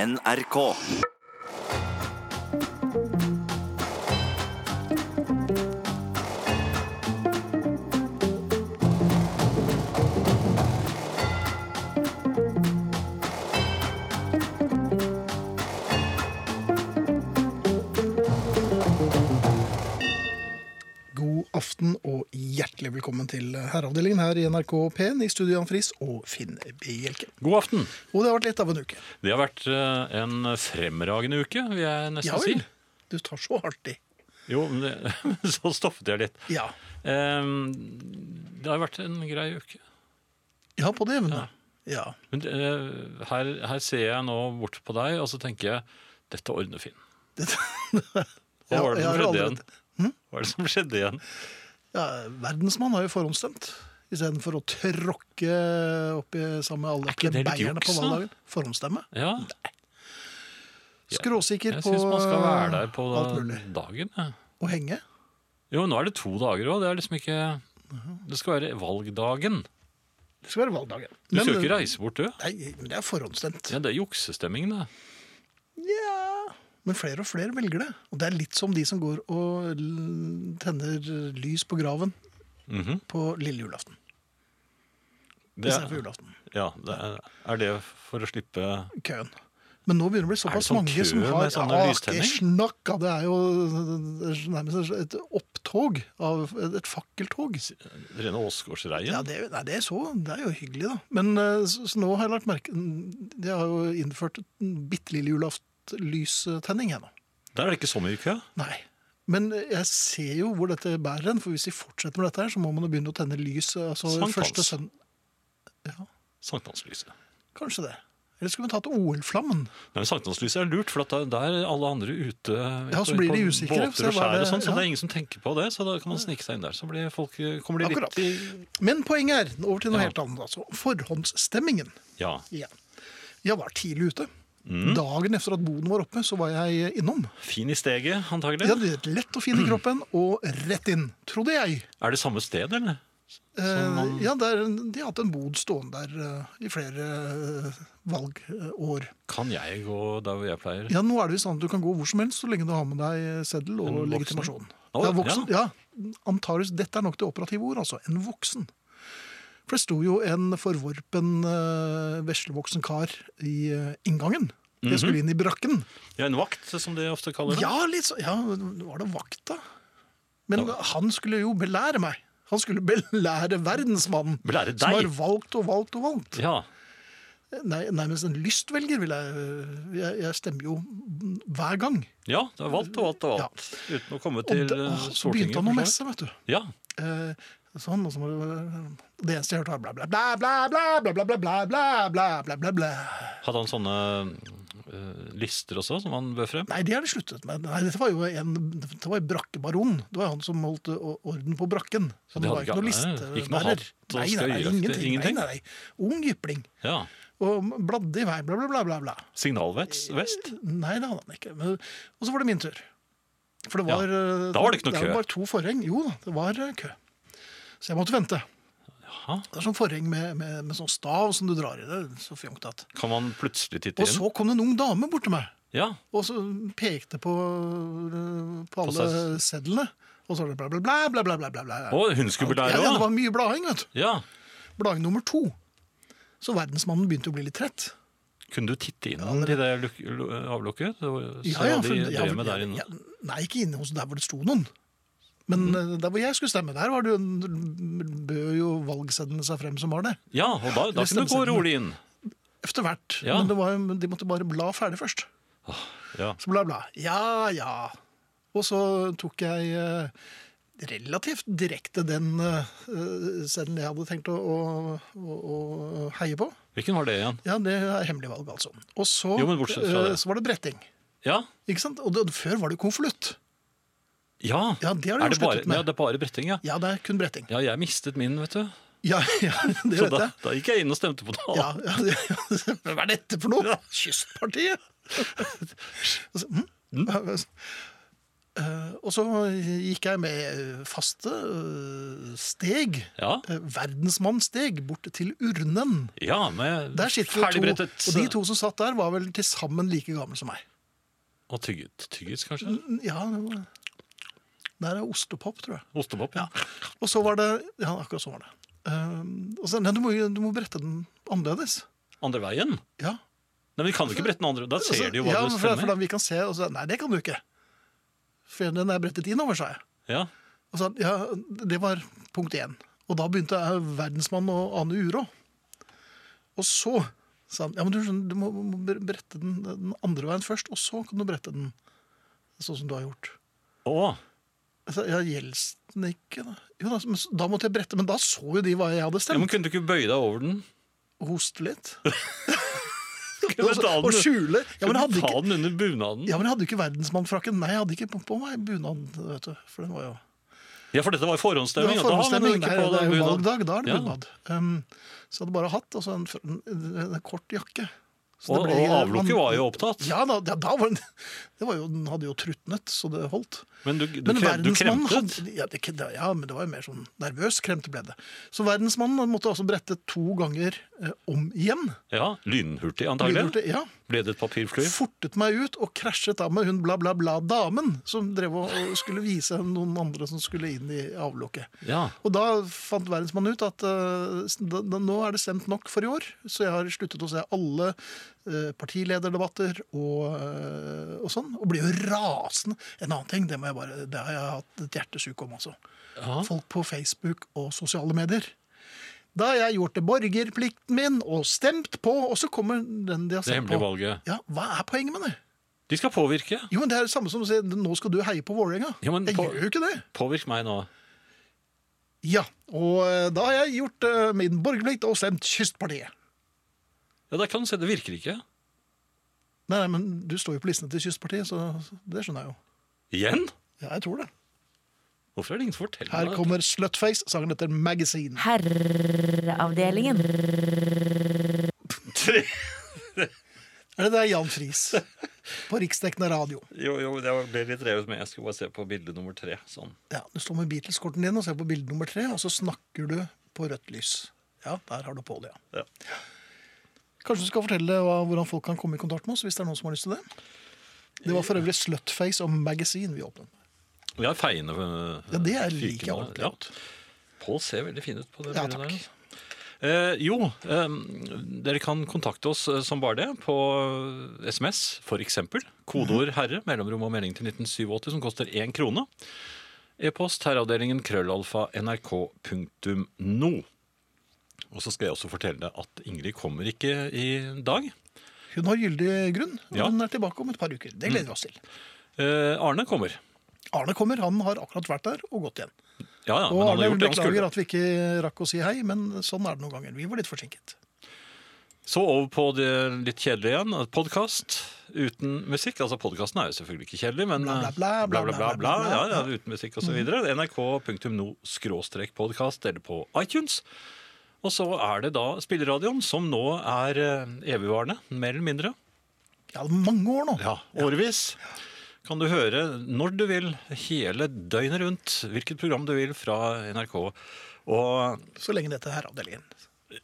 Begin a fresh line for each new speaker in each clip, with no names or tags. NRK.
God aften og hjertelig velkommen til herreavdelingen her i NRK P1 i studio Jan Friis og Finn Bjelke.
God aften.
Og det har vært litt av en uke.
Det har vært eh, en fremragende uke, vil jeg nesten
Ja vel.
si.
Du tar så hardt i.
Jo, men det, så stoppet jeg litt.
Ja.
Ehm, det har vært en grei uke.
Ja, på det evne. Ja.
Men eh, her, her ser jeg nå bort på deg, og så tenker jeg dette ordner Finn.
Det,
Hva var det
jeg
som
har Hm?
skjedde
allerede-
igjen? Hva er det som skjedde igjen?
Ja, verdensmann har jo forhåndsstemt. Istedenfor å tråkke opp i samme alle
ikke det litt
plebeierne på
juks, da?
valgdagen. Forhåndsstemme.
Ja,
Skråsikker
jeg
på
syns man skal være der på
alt mulig.
dagen. jeg.
Å henge.
Jo, nå er det to dager òg. Det er liksom ikke
Mhm.
Det skal være valgdagen.
Det skal være valgdagen. eh,
Du skal jo ikke reise bort, du.
Nei, men det er forhåndsstemt.
Ja, det er juksestemming, det.
Ja Men flere og flere velger det. Og det er litt som de som går og l- tenner lys på graven
Mhm.
på lille julaften.
Det-
Istedenfor julaften.
Ja, det er, er det for å slippe
Køen. Men nå begynner det å bli såpass
Er det sånn
mange som
kø
har
med sånne
Ja,
lystenning?
ikke snakk, ja, Det er jo nærmest et opptog av et fakkeltog.
Rene Åsgårdsreien?
Ja, det, er jo- nei, det er så, det er jo hyggelig, da. Men eh, så, så nå har jeg lagt merke De har jo innført en bitte lille julaftlystenning her nå.
Der er det ikke så mye kø.
Nei. Men jeg ser jo hvor dette bærer hen, for hvis vi fortsetter med dette her, så må man jo begynne å tenne lys. Altså
Sankthans.
første søn... Ja,
Sankthanslyset.
kanskje det. Eller skulle vi tatt OL-flammen?
Nei, men Sankthanslyset er lurt, for at der- der er alle andre ute
Ja, så
på-
blir de
på
usikre,
båter
så
og
hva er
skjær og
det-
sånn, så
ja.
det er ingen som tenker på det. Så da kan man snike seg inn der. Så blir folk, kommer de
Akkurat.
litt i
Men poenget er, over til noe
Ja.
helt annet, altså. Forhåndsstemmingen.
Ja.
Ja. Jeg var tidlig ute. Dagen etter at boden var oppe, så var jeg innom.
Fin i steget, antagelig.
Jeg hadde lett og fin i kroppen, og rett inn, trodde jeg.
Er det samme sted, eller?
Eh, ja, der, de har hatt en bod stående der eh, i flere eh, valgår.
Kan jeg gå der hvor jeg pleier?
Ja, nå er det jo sånn at du kan gå hvor som helst så lenge du har med deg seddel og
En voksen?
legitimasjon.
Å,
ja, voksen, ja. Antageligvis, dette er nok det operative ord, altså. En voksen. For det sto jo en forvorpen eh, veslevoksen kar i eh, inngangen.
Mhm.
Jeg skulle inn i brakken.
Ja, En vakt, som de ofte kaller det.
Ja, litt så, ja, var det vakta? Men han skulle jo belære meg. Han skulle belære verdensmannen.
Belære deg?
Som har valgt og valgt og valgt.
Ja.
Nei, nærmest en lystvelger, vil jeg Jeg, jeg stemmer jo hver gang.
ja, det er valgt og valgt og valgt. Uten å komme
Og
til
da-
eh,
åh, så
Stortinget.
begynte han å
for
messe, vet du.
Ja,
Eh, sånn, og så må du eh, Det eneste jeg hørte, var bla, bla, bla, bla, bla, bla, bla, bla, bla, bla, bla, bla, bla, bla.
Hadde han sånne eh, lister også, som han bød frem?
Nei, det har de sluttet med. Nei, dette var jo en, dette var en brakkebaron. Det var han som holdt o- orden på brakken. Så
de
det var
hadde
ikke noe
ikke-
liste.
nei, ikke noe hatt og
Nei, nei, nei,
skøyeraktig,
ingenting.
ingenting?
Nei, nei, nei. Ung jypling.
Ja.
Og bladde i vei, bla, bla, bla, bla, bla.
Signalvest? Vest?
Nei, det hadde han ikke. Men, og så var det min tur. For det
Ja,
var, eh,
da var det ikke noe kø.
var bare to forheng. Jo da, det var eh, kø. Så jeg måtte vente.
Jaha.
Det er sånn forheng med, med, med sånn stav som du drar i. Det er så fjongt at.
Kan man plutselig titte
Og
inn?
så kom det en ung dame bort til meg.
Ja.
Og så pekte på, eh, på alle
seg-
sedlene. Og så var det bla, bla, bla, bla, bla, bla, bla, bla.
Å, hun skulle bli
ja,
der
ja, det
òg?
var mye blading, vet du.
Ja.
Blading nummer to. Så verdensmannen begynte å bli litt trett.
Kunne du titte inn i det luk- lu- avlukket? Så hva
for-
de
ja,
drev
for-
med der inne? Mm.
ja, nei, ikke inne hos der hvor det sto noen. Men eh, der hvor jeg skulle stemme, der var det jo, en- bød jo valgseddelen seg frem som var det.
Ja, og da, da
Eller
kunne du gå
stemmeseddelen.
rolig inn.
Efter hvert.
Ja.
Men det var, jo- men de måtte bare bla ferdig først.
Ja.
Så bla, bla. Ja, ja. Og så tok jeg eh, relativt direkte den eh, seddelen jeg hadde tenkt å, å, å, å heie på.
Hvilken var det igjen?
Ja, det er hemmelig valg, altså. Og så,
Jo, men bortsett fra
eh,
det.
så var det bretting.
Ja.
Ikke sant? Og det, før var det konvolutt.
Ja,
Ja, det har de
er det
jo
bare,
sluttet med.
ja, det er bare bretting, ja.
Ja, det er kun bretting.
Ja, jeg mistet min, vet du.
Ja, ja det
Så
vet
da,
jeg.
da gikk jeg inn og stemte på det.
Ja, ja, det- Hva er dette for noe? Kystpartiet? Og så, hm? Eh, Og så gikk jeg med eh, faste eh, steg,
Ja,
eh, verdensmannssteg, bort til urnen.
ja med
Der sitter jo to,
ferdigbrettet
og de to som satt der, var vel til sammen like gamle som meg.
Og tygget, tyggis, kanskje?
Ja, det var- der er ostepop, tror jeg.
Ostepop? Ja.
Og så var det Ja, akkurat sånn var det. Eh, og så, nei, du, må, jo- du må brette den annerledes.
Andre veien?
Ja.
Nei, men Vi kan jo ikke brette den andre. Da
Altså,
ser de jo hva
ja,
du
for, for da
stemmer.
vi kan se, og så, Nei, det kan du ikke. For den er brettet innover, sa jeg.
Ja.
Og så, ja, det var punkt én. Og da begynte jeg verdensmann og Ane Uro. Og så sa han ja, men du, skjønner, du må, må brette den, den andre veien først, og så kan du brette den sånn som du har gjort.
Å,
Jeg sa, ja, gjelder den ikke? Da? Jo, da, men, s- da måtte jeg brette, men da så jo de hva jeg hadde
ja, men
stemt.
Kunne du ikke bøye deg over den?
Og hoste litt.
Kunne
og,
ta den-
og skjule. Ja, men jeg
kunne
hadde
du ta
ikke,
den under bunaden?
ja, men jeg hadde jo ikke verdensmannfrakken. Nei, jeg hadde ikke på, på meg bunad, vet du. For den var jo
Ja, for dette var
Det
forhåndsstemming.
var
at da har man
formstemming.
ikke
Nei,
på
det er jo
bunad.
valgdag, da er det
Ja.
bunad. Um, så hadde bare hatt og så en, en, en, en kort jakke. Så det
Og,
ble-
og avlukket var jo opptatt.
Ja, da, ja, da var den, det var jo, den hadde jo trutnet, så det holdt.
Men du, du,
Men
krem, du
verdensmannen
kremtet.
hadde, ja, det, ja, men det var jo mer sånn nervøs kremte ble det. Så verdensmannen måtte altså brette to ganger eh, om igjen.
Ja, Lynhurtig, antagelig.
Lydhørte, ja.
Ble det et papirfly?
Fortet meg ut og krasjet da med hun bla bla bla damen som drev og og skulle vise noen andre som skulle inn i avlukket.
Ja.
Og da fant verdensmannen ut at eh, da, da, nå er det stemt nok for i år, så jeg har sluttet å se alle eh, partilederdebatter og, eh, og sånn, og blir jo rasende. En annen ting, det, må jeg bare, det har jeg hatt et hjertesuk om også.
Ja.
Folk på Facebook og sosiale medier. Da har jeg gjort det borgerplikten min og stemt på, og så kommer den de har
Det
stemt
hemmelige
på.
valget.
Ja, hva er poenget med det?
De skal påvirke.
Jo, men Det er det samme som å si nå skal du heie på Vålerenga.
Ja, men
jeg
på-
gjør jo ikke det.
Påvirk meg nå.
Ja, og eh, da har jeg gjort eh, min borgerplikt og stemt Kystpartiet.
Ja, Der kan du se, det virker ikke.
Nei, nei, men du står jo på listene til Kystpartiet, så så det skjønner jeg jo.
Igjen?
Ja, jeg tror det.
Hvorfor er det ingen som forteller
Her
meg
kommer Slutface, sangen etter Magazine.
Herreavdelingen.
dette?
Er det der Jan Friis på riksdekkende radio?
Jo, jo, det ble litt revet med. Jeg skulle bare se på bilde nummer tre. Sånn.
Ja, Du står med Beatles-korten din og ser på bilde nummer tre, og så snakker du på rødt lys. Ja, der har du på det, ja.
Ja.
Kanskje du skal fortelle hva, hvordan folk kan komme i kontakt med oss, hvis det er noen som har lyst til det? Det var for øvrig Slutface og Magazine vi åpnet.
Vi har feiende eh,
Ja, det er like
fyrkene.
ordentlig
Ja. Pål ser veldig fin ut på det
Ja,
bildet
takk.
der. altså. Eh, jo, eh, dere kan kontakte oss eh, som bare det på eh, SMS, for eksempel.
Mhm.
Kodeord 'herre', mellomrom og melding til 1987, som koster én krone. E-post herreavdelingen krøllalfa nrk.no. Og så skal jeg også fortelle deg at Ingrid kommer ikke i dag.
Hun har gyldig grunn, og
Ja.
hun er tilbake om et par uker. Det gleder vi oss til.
Eh, Arne kommer.
Arne kommer, han har akkurat vært der og gått igjen.
Ja, ja,
Og
men han har
Arne
gjort det han skulle.
beklager at vi ikke rakk å si hei, men sånn er det noen ganger. Vi var litt forsinket.
Så over på det litt kjedelige igjen. Podkast uten musikk. Altså Podkasten er jo selvfølgelig ikke kjedelig, men eh,
Bla, bla, bla,
bla, bla, bla, bla,
bla,
ja,
bla, Mhm.
ja, uten musikk osv. NRK.no-podkast eller på iTunes. Og så er det da spilleradioen, som nå er eh, evigvarende, mer eller mindre.
Ja, det er mange år nå.
Ja, Årevis. Kan du høre når du vil, hele døgnet rundt, hvilket program du vil fra NRK. Og
Så lenge dette er herreavdelingen.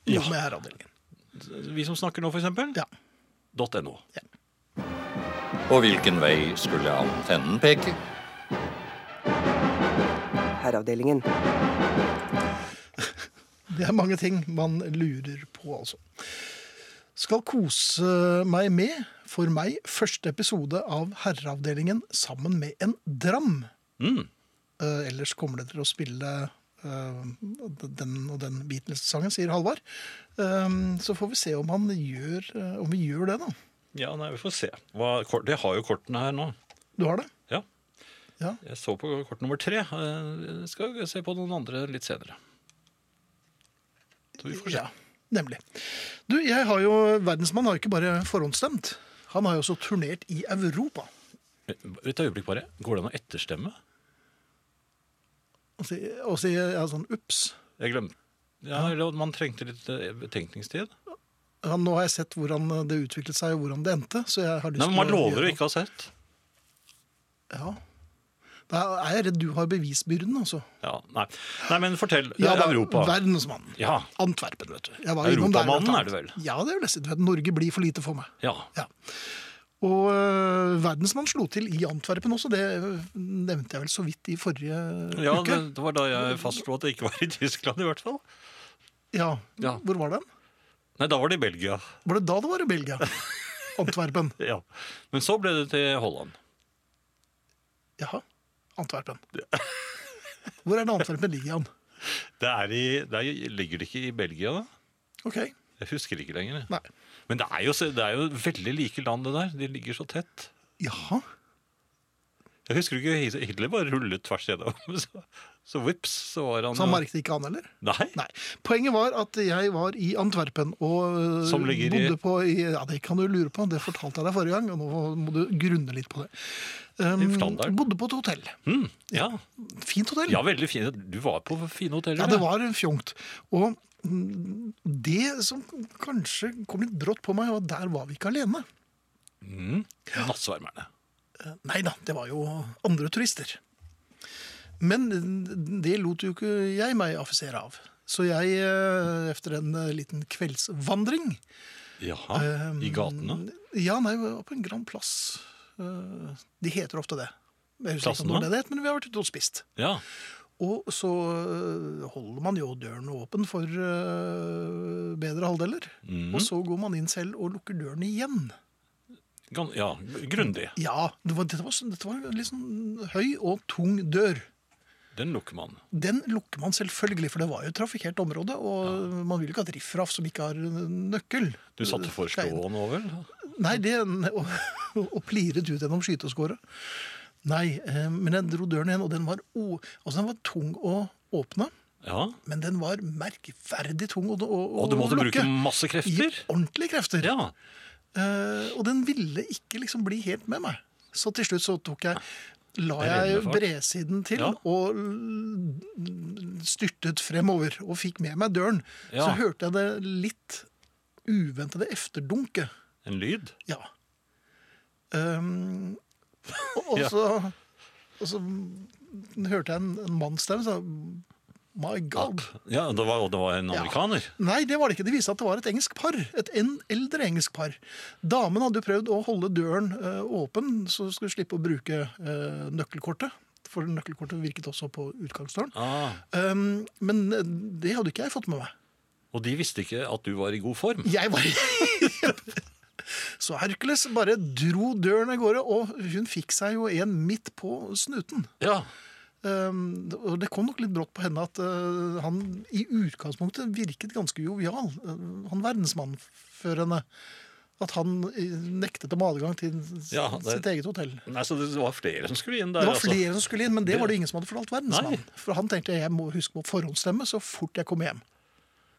Ja. Med herreavdelingen.
vi som snakker nå, for eksempel.
Ja.
.no.
Og hvilken vei skulle antennen peke?
Herreavdelingen.
Det er mange ting man lurer på, altså. Skal kose meg med, for meg, første episode av Herreavdelingen sammen med en dram.
Mm.
Eh, ellers kommer det til å spille eh, den og den Beatles-sangen, sier Halvard. Eh, så får vi se om, han gjør, eh, om vi gjør det, da.
Ja, nei, vi får se. Hva, kort, det har jo kortene her nå.
Du har det?
Ja.
Ja.
Jeg så på kort nummer tre. Eh, Skal jo se på noen andre litt senere. Så vi får se.
Ja, nemlig. Du, jeg har jo, verdensmann har jo ikke bare forhåndsstemt. Han har jo også turnert i Europa.
Et øyeblikk bare. Går det an å etterstemme?
Og si- Og si ja, sånn ups.
Jeg glemte. Ja, eller Man trengte litt eh, betenkningstid.
Ja, nå har jeg sett hvordan det utviklet seg og hvordan det endte. Så jeg har lyst
Nei, men Man
til å
lover
gjøre
å
noe.
ikke ha sett.
Ja. Da er jeg redd du har bevisbyrden, altså.
Ja, nei. nei, men fortell. Eh, Det er
da,
Europa.
Verdensmannen.
Ja,
Antwerpen, vet du. Jeg var innom der, blant
Europamannen er
annet.
du vel?
Ja, det vil jeg si. Du vet, Norge blir for lite for meg.
ja.
Ja. Og øh, verdensmannen slo til i Antwerpen også, det øh, nevnte jeg vel så vidt i forrige
ja
uke.
det, det var da jeg fastslo at det ikke var i Tyskland, i hvert fall.
Ja.
Ja.
Hvor var den?
Nei, da var det i Belgia.
Var det da det var i Belgia? Antwerpen.
Ja. Men så ble det til Holland.
Jaha. Antwerpen. Hvor er det Antwerpen ligger igjen?
Det er i, der ligger det ikke i Belgia, da?
Ok,
Jeg husker ikke lenger. jeg.
nei.
Men det er, jo, så- det er jo veldig like land, det der. De ligger så tett.
Jaha.
Jeg husker ikke, Hitler bare rullet tvers gjennom. Så, så vips, så var han
Så han merket ikke han heller?
Nei.
Nei. Poenget var at jeg var i Antwerpen og øh,
Som ligger i-
bodde på i, Ja, det kan du lure på, det fortalte jeg deg forrige gang, og nå må du grunne litt på det. Um,
Fortell der.
bodde på et hotell.
Mm, ja.
Fint hotell.
ja, veldig fine. Du var på fine hoteller.
Ja, det
ja.
var fjongt. Og mm, det som kanskje kom litt brått på meg, var at der var vi ikke alene.
Mm. Nattsvermerne.
Nei da, det var jo andre turister. Men det lot jo ikke jeg meg affisere av. Så jeg, eh, etter en eh, liten kveldsvandring
Jaha,
Ehm,
i gatene.
Ja, nei, vi var på en Grand Plass. Eh, De heter ofte det. Jeg husker ikke
Plassen,
om det var
da?
det det het, men vi har vært ute og spist.
Ja.
Og så øh, holder man jo døren åpen for øh, bedre halvdeler.
Mhm.
Og så går man inn selv og lukker døren igjen.
Gan ja, grundig.
Ja, det var, dette, var, sånn- dette var en litt sånn høy og tung dør.
Den lukker man.
Den lukker man selvfølgelig, for det var jo et trafikkert område. Og man vil jo ikke ha et riffraff som ikke har nøkkel.
Du satte for
Skal inn.
slåen over?
Nei, det og, og pliret ut gjennom skyteskåret. Nei, eh, men jeg dro døren igjen, og den var, o, altså den var tung å åpne.
Ja.
Men den var merkverdig tung å, å, å
Og du måtte
lukke.
bruke masse krefter?
I ordentlige krefter.
Ja.
Eh, og den ville ikke liksom bli helt med meg. Så til slutt så tok jeg La
Det er
jeg
redende fag.
bredsiden til
Ja.
og l- styrtet fremover og fikk med meg døren. Så
Ja.
hørte jeg det litt uventede efterdunket.
En lyd?
Ja. Ehm, og, og,
Ja.
så, og så hørte jeg en, en mannsstemme som sa My God.
Ja, det var, og det var en
Ja.
amerikaner.
Nei, det var det ikke. Det viste seg at det var et engelsk par. Et en eldre engelsk par. Damen hadde jo prøvd å holde døren eh, åpen, så hun skulle slippe å bruke eh, nøkkelkortet. For nøkkelkortet virket også på utgangsdøren.
Ah,
Um, men det hadde ikke jeg fått med meg.
og de visste ikke at du var i god form?
Jeg var Så Hercules bare dro døren av gårde, og hun fikk seg jo en midt på snuten.
Ja.
Um, og det kom nok litt brått på henne at uh, han i utgangspunktet virket ganske jovial. Uh, han verdensmannen før henne. At han uh, nektet om adgang til s-
Ja, det-
sitt eget hotell.
Nei, Så det var flere som skulle inn der?
Det var
altså.
flere som skulle inn, men det var det ingen som hadde fortalt verdensmannen.
Nei.
For han tenkte jeg må huske å forhåndsstemme så fort jeg kom hjem.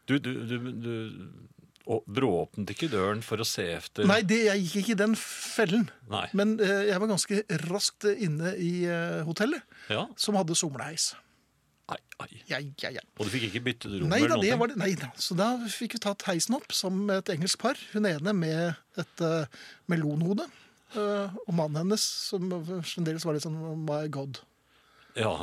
Du, du, du, du og brååpnet ikke døren for å se efter
Nei, det, jeg gikk ikke i den fellen.
Nei.
Men eh, jeg var ganske raskt inne i eh, hotellet,
Ja.
som hadde sommerheis.
Ai, ai.
Ja, ja, ja.
Og du fikk ikke byttet rom?
Nei da,
eller
det
noen
var det. Nei da. Så da fikk vi tatt heisen opp som et engelsk par. Hun ene med et eh, melonhode. eh, og mannen hennes, som fremdeles var litt sånn oh My God.
ting? Ja.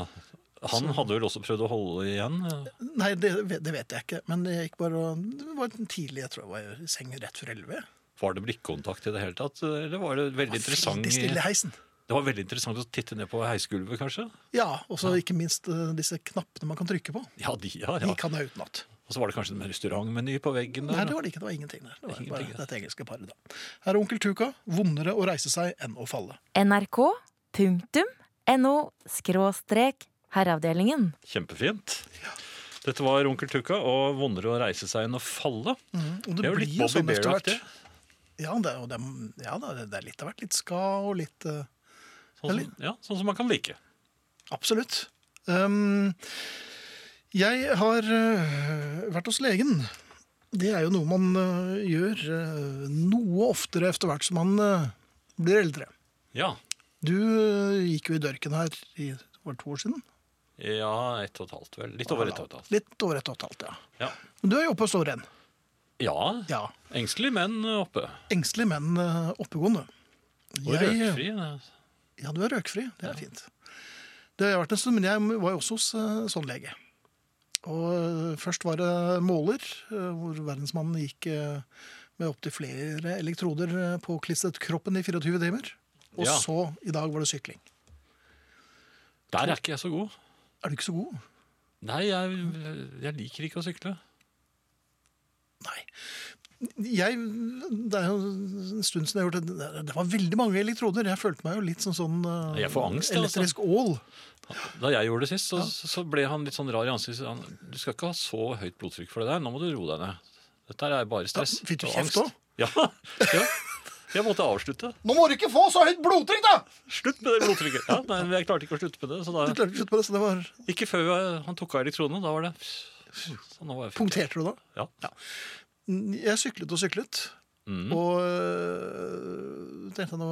Han hadde vel også prøvd å holde igjen? ja.
Nei, det, vet- det vet jeg ikke. Men jeg gikk bare og Det var tidlig, jeg tror jeg var i seng rett før elleve.
Var det blikkontakt i det hele tatt? Eller var det veldig interessant
Veldig stille i heisen.
Det var veldig interessant å titte ned på heisgulvet, kanskje?
Ja, og så ikke minst eh, disse knappene man kan trykke på.
Ja, de, ja,
De
ja.
kan jeg utenat.
Og så var det kanskje en restaurantmeny på veggen
Nei,
der?
det
da.
var det ikke. Det var ingenting der. Det var
Ingenting,
bare
ja.
dette engelske paret, da. Her er onkel Tuka. Vondere å reise seg enn å falle.
nrk.no skråstrek herreavdelingen.
Kjempefint. Dette var Onkel Tukka og 'Vondere å reise seg enn å falle'.
Mm, Og
Det er jo litt Bobby Bear-aktig.
sånn Ja, det, er jo dem- ja da, det, det er litt av hvert. Litt ska og litt eh,
Sånn, som- ja, sånn som man kan like.
Absolutt. Ehm, jeg har eh, vært hos legen. Det er jo noe man eh, gjør eh, noe oftere etter hvert som man eh, blir eldre.
Ja.
Du eh, gikk jo i dørken her i var det to år siden.
Ja, ett og et halvt, vel. Litt over ett og et halvt.
Litt over ett og et halvt, ja.
Ja.
Men du er jo oppe og står igjen.
ja.
Ja.
Engstelig, men oppe.
Engstelig, men eh, oppegående.
Og
Jeg-
røkfri.
Ja, du er røkfri. Det er fint. Det har jeg vært en stund, men jeg var jo også hos eh, sånn lege. Og eh, først var det måler, eh, hvor verdensmannen gikk eh, med opptil flere elektroder eh, påklistret kroppen i 24 timer. Og
Ja.
så, i dag, var det sykling.
Der er ikke jeg så god.
Er du ikke så god?
Nei, jeg, jeg liker ikke å sykle.
Nei. Jeg, det er jo en stund siden jeg har gjort det. Det- Det var veldig mange elektroder. Jeg følte meg jo litt som sånn eh,
Jeg får angst, jeg, altså.
elektrisk ål.
Da jeg gjorde det sist, så, så ble han litt sånn rar i ansiktet. Han, du skal ikke ha så høyt blodtrykk for det der. Nå må du roe deg ned. Dette her er bare stress.
Ja, fikk du
og
kjeft
angst.» Ja, ja. Jeg måtte avslutte.
Nå må du ikke få så høyt blodtrykk, da!
Slutt med det blodtrykket. Ja, nei, men jeg klarte ikke å slutte med det. Så
Du
da,
klarte ikke å slutte på det, så det var
ikke før jeg, han tok av elektronene. Da var det så nå var jeg fint.
Punkterte du da?
Ja.
Jeg syklet og syklet.
Mm.
Og øh, tenkte jeg nå,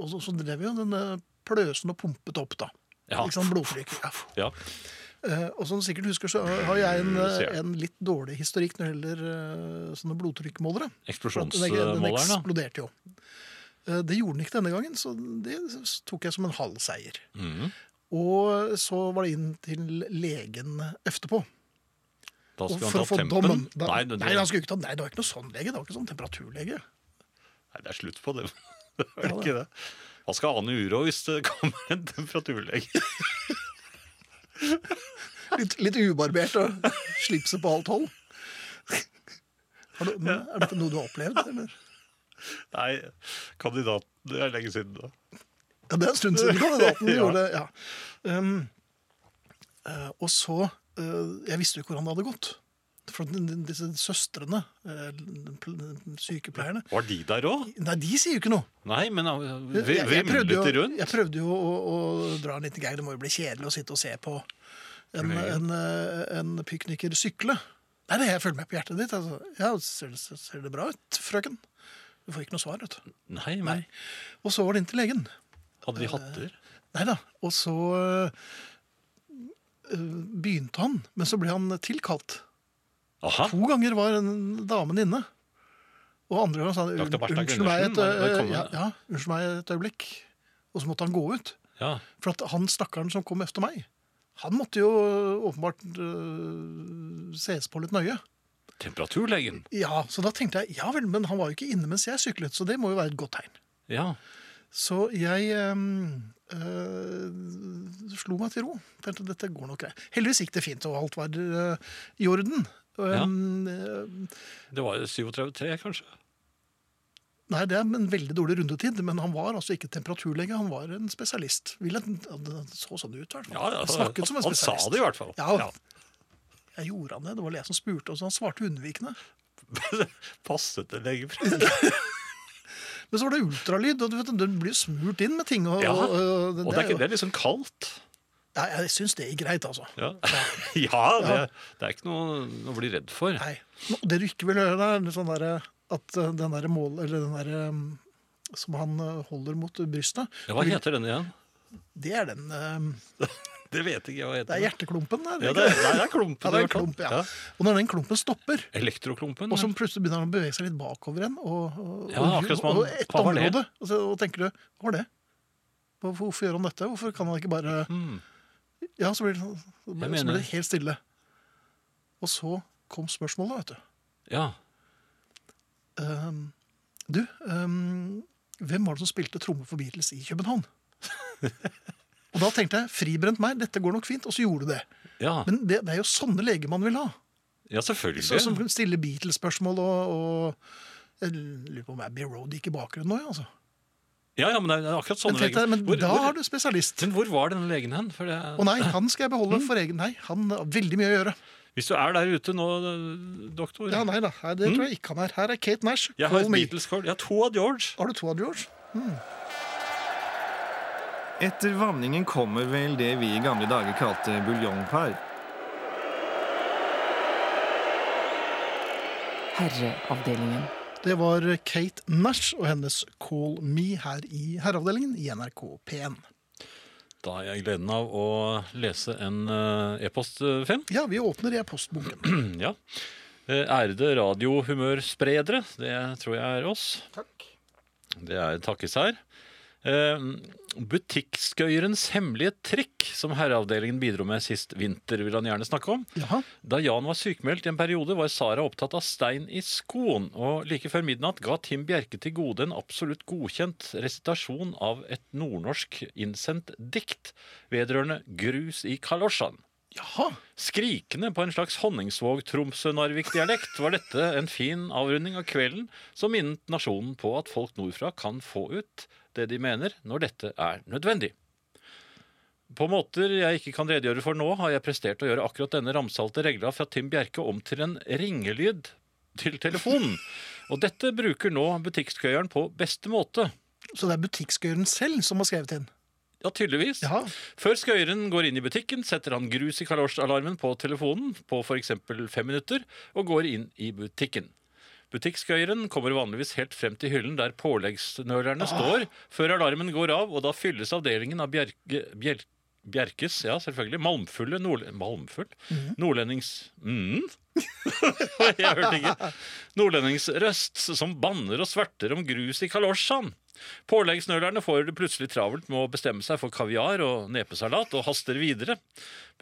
og så, så drev jo den øh, pløsen og pumpet opp, da.
Ja.
Ikke sant, blodtrykk. Ja.
Ja.
Eh, og som du sikkert husker, så har jeg en, øh,
ser det.
en litt dårlig historikk når det gjelder øh, sånne blodtrykkmålere. For at Den, den
Eksplosjonsmåleren, da.
eksploderte jo. Eh, Det gjorde den ikke denne gangen, så det tok jeg som en halv seier.
Mhm.
Og øh, så var det inn til legen etterpå.
Da
Og
skulle
for å
han ta
få
tempen.
dommen da,
Nei,
nei,
det,
han
det,
skulle ikke ta Nei, det var ikke noe sånn lege. Det var ikke sånn temperaturlege.
nei, det er slutt på det. Det er ikke det. Han skal ane uro hvis det kommer en temperaturlege.
Litt, litt ubarbert og slipset på halvt hold. Har du, men er dette noe du har opplevd? Eller?
Nei, kandidaten Det er lenge siden, da.
Ja, det er en stund siden kandidaten
Ja.
gjorde det. Ja. Um, eh, og så eh, Jeg visste jo ikke hvordan det hadde gått. For den- den- disse søstrene, eh, pl- sykepleierne
Var de der òg?
Nei, de sier jo ikke noe.
Nei, men uh,
Jeg,
vi-
jeg,
vi
jeg prøvde
mumlet det
jo,
rundt.
jeg prøvde jo å, å dra en liten gag. Det må jo bli kjedelig å sitte og se på en, en, eh, en pikniker sykle. Nei, nei, jeg følger med på hjertet ditt. Altså. Ja, ser, det- ser det bra ut, frøken? Du får ikke noe svar, vet du.
Nei, men
Og så var det inn til legen.
hadde de hatter?
Nei da. Og så øh, begynte han, men så ble han tilkalt.
Aha,
To ganger var den damen inne. Og andre gangen sa han
Dr. Bertha
unnskyld meg et,
Gundersen,
øh,
velkommen.
ja, ja, unnskyld meg et øyeblikk. Og så måtte han gå ut.
ja.
For at han stakkaren som kom efter meg, han måtte jo åpenbart øh, ses på litt nøye.
Temperaturlegen.
Ja, Så da tenkte jeg ja vel, men han var jo ikke inne mens jeg syklet, så det må jo være et godt tegn.
Ja.
Så jeg ehm, eh, slo meg til ro. Tenkte dette går nok greit. Heldigvis gikk det fint, og alt var eh, i orden. Ehm, eh,
Det var 37,3, kanskje?
nei, det er en veldig dårlig rundetid, men han var altså ikke temperaturlege, han var en spesialist. Ville- Han så sånn ut, i hvert fall.
Ja, ja,
han snakket som en
han sa
spesialist.
det i hvert fall.
Ja. Jeg gjorde han det, det var jeg som spurte, og så han svarte unnvikende.
Passet det legeprisen?
Men så var det ultralyd, og du vet, den blir jo smurt inn med ting. Og,
Ja,
og, og,
Og det er
jo-
ikke det er liksom kaldt?
Ja, jeg syns det gikk greit, altså.
Ja, ja det, det er ikke noe å bli redd for.
Nei. Nå- Det du ikke vil høre, det er sånn der, at eh, den der mål... Eller den der um, som han eh, holder mot brystet.
Ja, hva heter den igjen?
Det er den um,
Det vet ikke jeg hva
Det
heter.
er hjerteklumpen der.
ja,
ikke
det, er- nei, det er klumpen.
Ja, det er
i
en
hvert fall.
klump, ja. Og når den klumpen stopper,
Elektroklumpen.
og så plutselig begynner han å bevege seg litt bakover igjen, og, og,
Mm. Ja,
og-
akkurat som han-
og et
hva var det?
område, og så og tenker du Hva var det? Hva- Hvorfor gjør han dette? Hvorfor kan han ikke bare
Mm.
Ja, så blir det, sånn- så
Jeg
blir så
mener-
blir det helt stille. Og så kom spørsmålet, vet du.
ja.
Ehm, du, ehm, hvem var det som spilte tromme for Beatles i København? og da tenkte jeg, fribrent meg, dette går nok fint, og så gjorde du det.
Ja.
Men det, det er jo sånne leger man vil ha.
ja,
Så, som
selvfølgelig.
kan stille Beatles-spørsmål og, og Jeg lurer på om Abbey Road gikk i bakgrunnen nå, ja, altså.
Ja, ja, men det Sånn er akkurat
Men,
sånne
tenkte jeg, men
Hvor-
da
hvor-
er du spesialist.
Men hvor var denne legen hen? For det,
Å nei, han skal jeg
Mm.
beholde for egen Nei, han har veldig mye å gjøre.
Hvis du er der ute nå, doktor
Ja, nei da, nei, det tror jeg ikke han er. Her er Kate Nash.
Mm. Jeg har
Call
et
me.
Beatles-kort. Jeg har to av George.
Har du to av George?
Etter vanningen kommer vel det vi i gamle dager kalte buljongpar.
Herreavdelingen.
Det var Kate Nash og hennes Call Me her i Herreavdelingen i NRK P1.
Da har jeg gleden av å lese en eh, e-post, eh, Finn.
Ja, vi åpner i postbunken.
ja. Eh, Ærede radiohumørspredere, det tror jeg er oss. Takk. Det er takkes her. Eh, Butikkskøyerens hemmelige trikk, som herreavdelingen bidro med sist vinter, vil han gjerne snakke om.
Jaha.
Da Jan var sykemeldt i en periode, var Sara opptatt av stein i skoen, og like før midnatt ga Tim Bjerke til gode en absolutt godkjent resitasjon av et nordnorsk innsendt dikt vedrørende grus i kalosjan.
Jaha.
Skrikende på en slags Honningsvåg-Tromsø-Narvik-dialekt var dette en fin avrunding av kvelden som minnet nasjonen på at folk nordfra kan få ut det de mener når dette er nødvendig. På måter jeg ikke kan redegjøre for nå, har jeg prestert å gjøre akkurat denne ramsalte regla fra Tim Bjerke om til en ringelyd til telefonen. Og dette bruker nå butikkskøyeren på beste måte.
Så det er butikkskøyeren selv som har skrevet inn?
Ja, tydeligvis.
Jaha.
Før skøyeren går inn i butikken, setter han grus i kalosjalarmen på telefonen på f.eks. fem minutter, og går inn i butikken. Butikkskøyeren kommer vanligvis helt frem til hyllen der påleggsnølerne står, før alarmen går av, og da fylles avdelingen av bjerke, bjer, Bjerkes, ja selvfølgelig, malmfulle nord, Malmfull? Nordlendings... Mm. Jeg hørte ikke. Nordlendingsrøst som banner og sverter om grus i kalosjan. Påleggsnølerne får det plutselig travelt med å bestemme seg for kaviar og nepesalat og haster videre.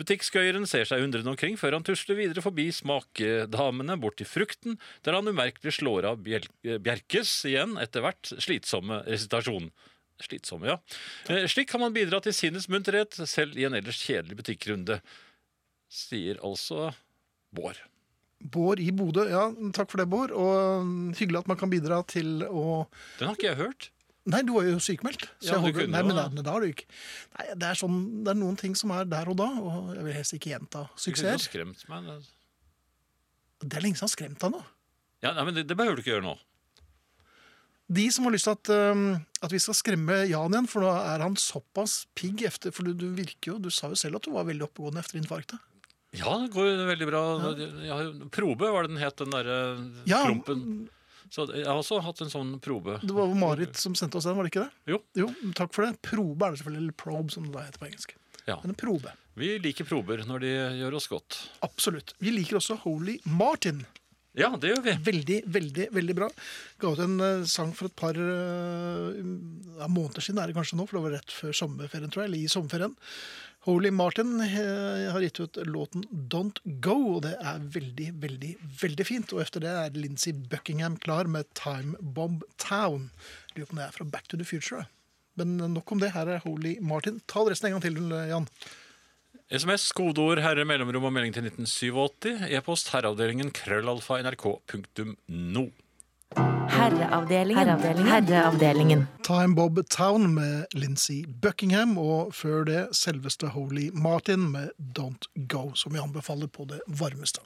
Butikkskøyeren ser seg undrende omkring før han tusler videre forbi smakedamene bort til frukten, der han umerkelig slår av bjel eh, Bjerkes igjen etter hvert slitsomme resitasjon. Slitsomme, ja. Eh, Slik kan man bidra til sinnets munterhet selv i en ellers kjedelig butikkrunde, sier altså Bård.
Bård i Bodø, ja, takk for det, Bård. Og mm, hyggelig at man kan bidra til å
Den har ikke jeg hørt.
Nei, du var jo sykemeldt. Så
Ja,
jeg
du
håper...
kunne
Nei,
jo
men
det.
da, men da har du ikke Nei, det er, sånn, det er noen ting som er der og da, og jeg vil helst ikke gjenta
Du kunne jo
suksesser.
skremt meg.
Det er lenge siden han har skremt deg nå.
Ja, nei, men det, det behøver du ikke gjøre nå.
De som har lyst til at, øhm, at vi skal skremme Jan igjen, for da er han såpass pigg efter For du, du virker jo Du sa jo selv at du var veldig oppegående efter infarktet.
Ja, det går jo veldig bra. Jeg har jo- probe var det den het, den derre eh,
Ja.
klumpen. Så jeg har også hatt en sånn probe.
Det var jo
Mm.
Marit som sendte oss den, var det ikke det?
Jo,
Jo, takk for det. Probe er det selvfølgelig, eller probe som det da heter på engelsk.
Ja.
Men en probe.
vi liker prober når de gjør oss godt.
Absolutt. Vi liker også Holy Martin.
Ja, det gjør vi.
Veldig, veldig veldig bra. Ga ut en eh, sang for et par eh, ja, måneder siden, er det kanskje nå, for det var rett før sommerferien, tror jeg. eller i sommerferien. Holy Martin eh, har gitt ut låten Don't Go, og det er veldig, veldig veldig fint. Og etter det er Lincy Buckingham klar med Time Bomb Town. Lurer på om det er fra Back to the Future. da. Men nok om det. Her er Holy Martin. Ta resten en gang til, Jan.
SMS, kodeord, herre, mellomrom og melding til 1987. E-post herreavdelingen krøllalfa nrk.no.
Herreavdelingen. Herreavdelingen.
Time Bob Town med Lindsey Buckingham, og før det selveste Holy Martin med Don't Go, som jeg anbefaler på det varmeste.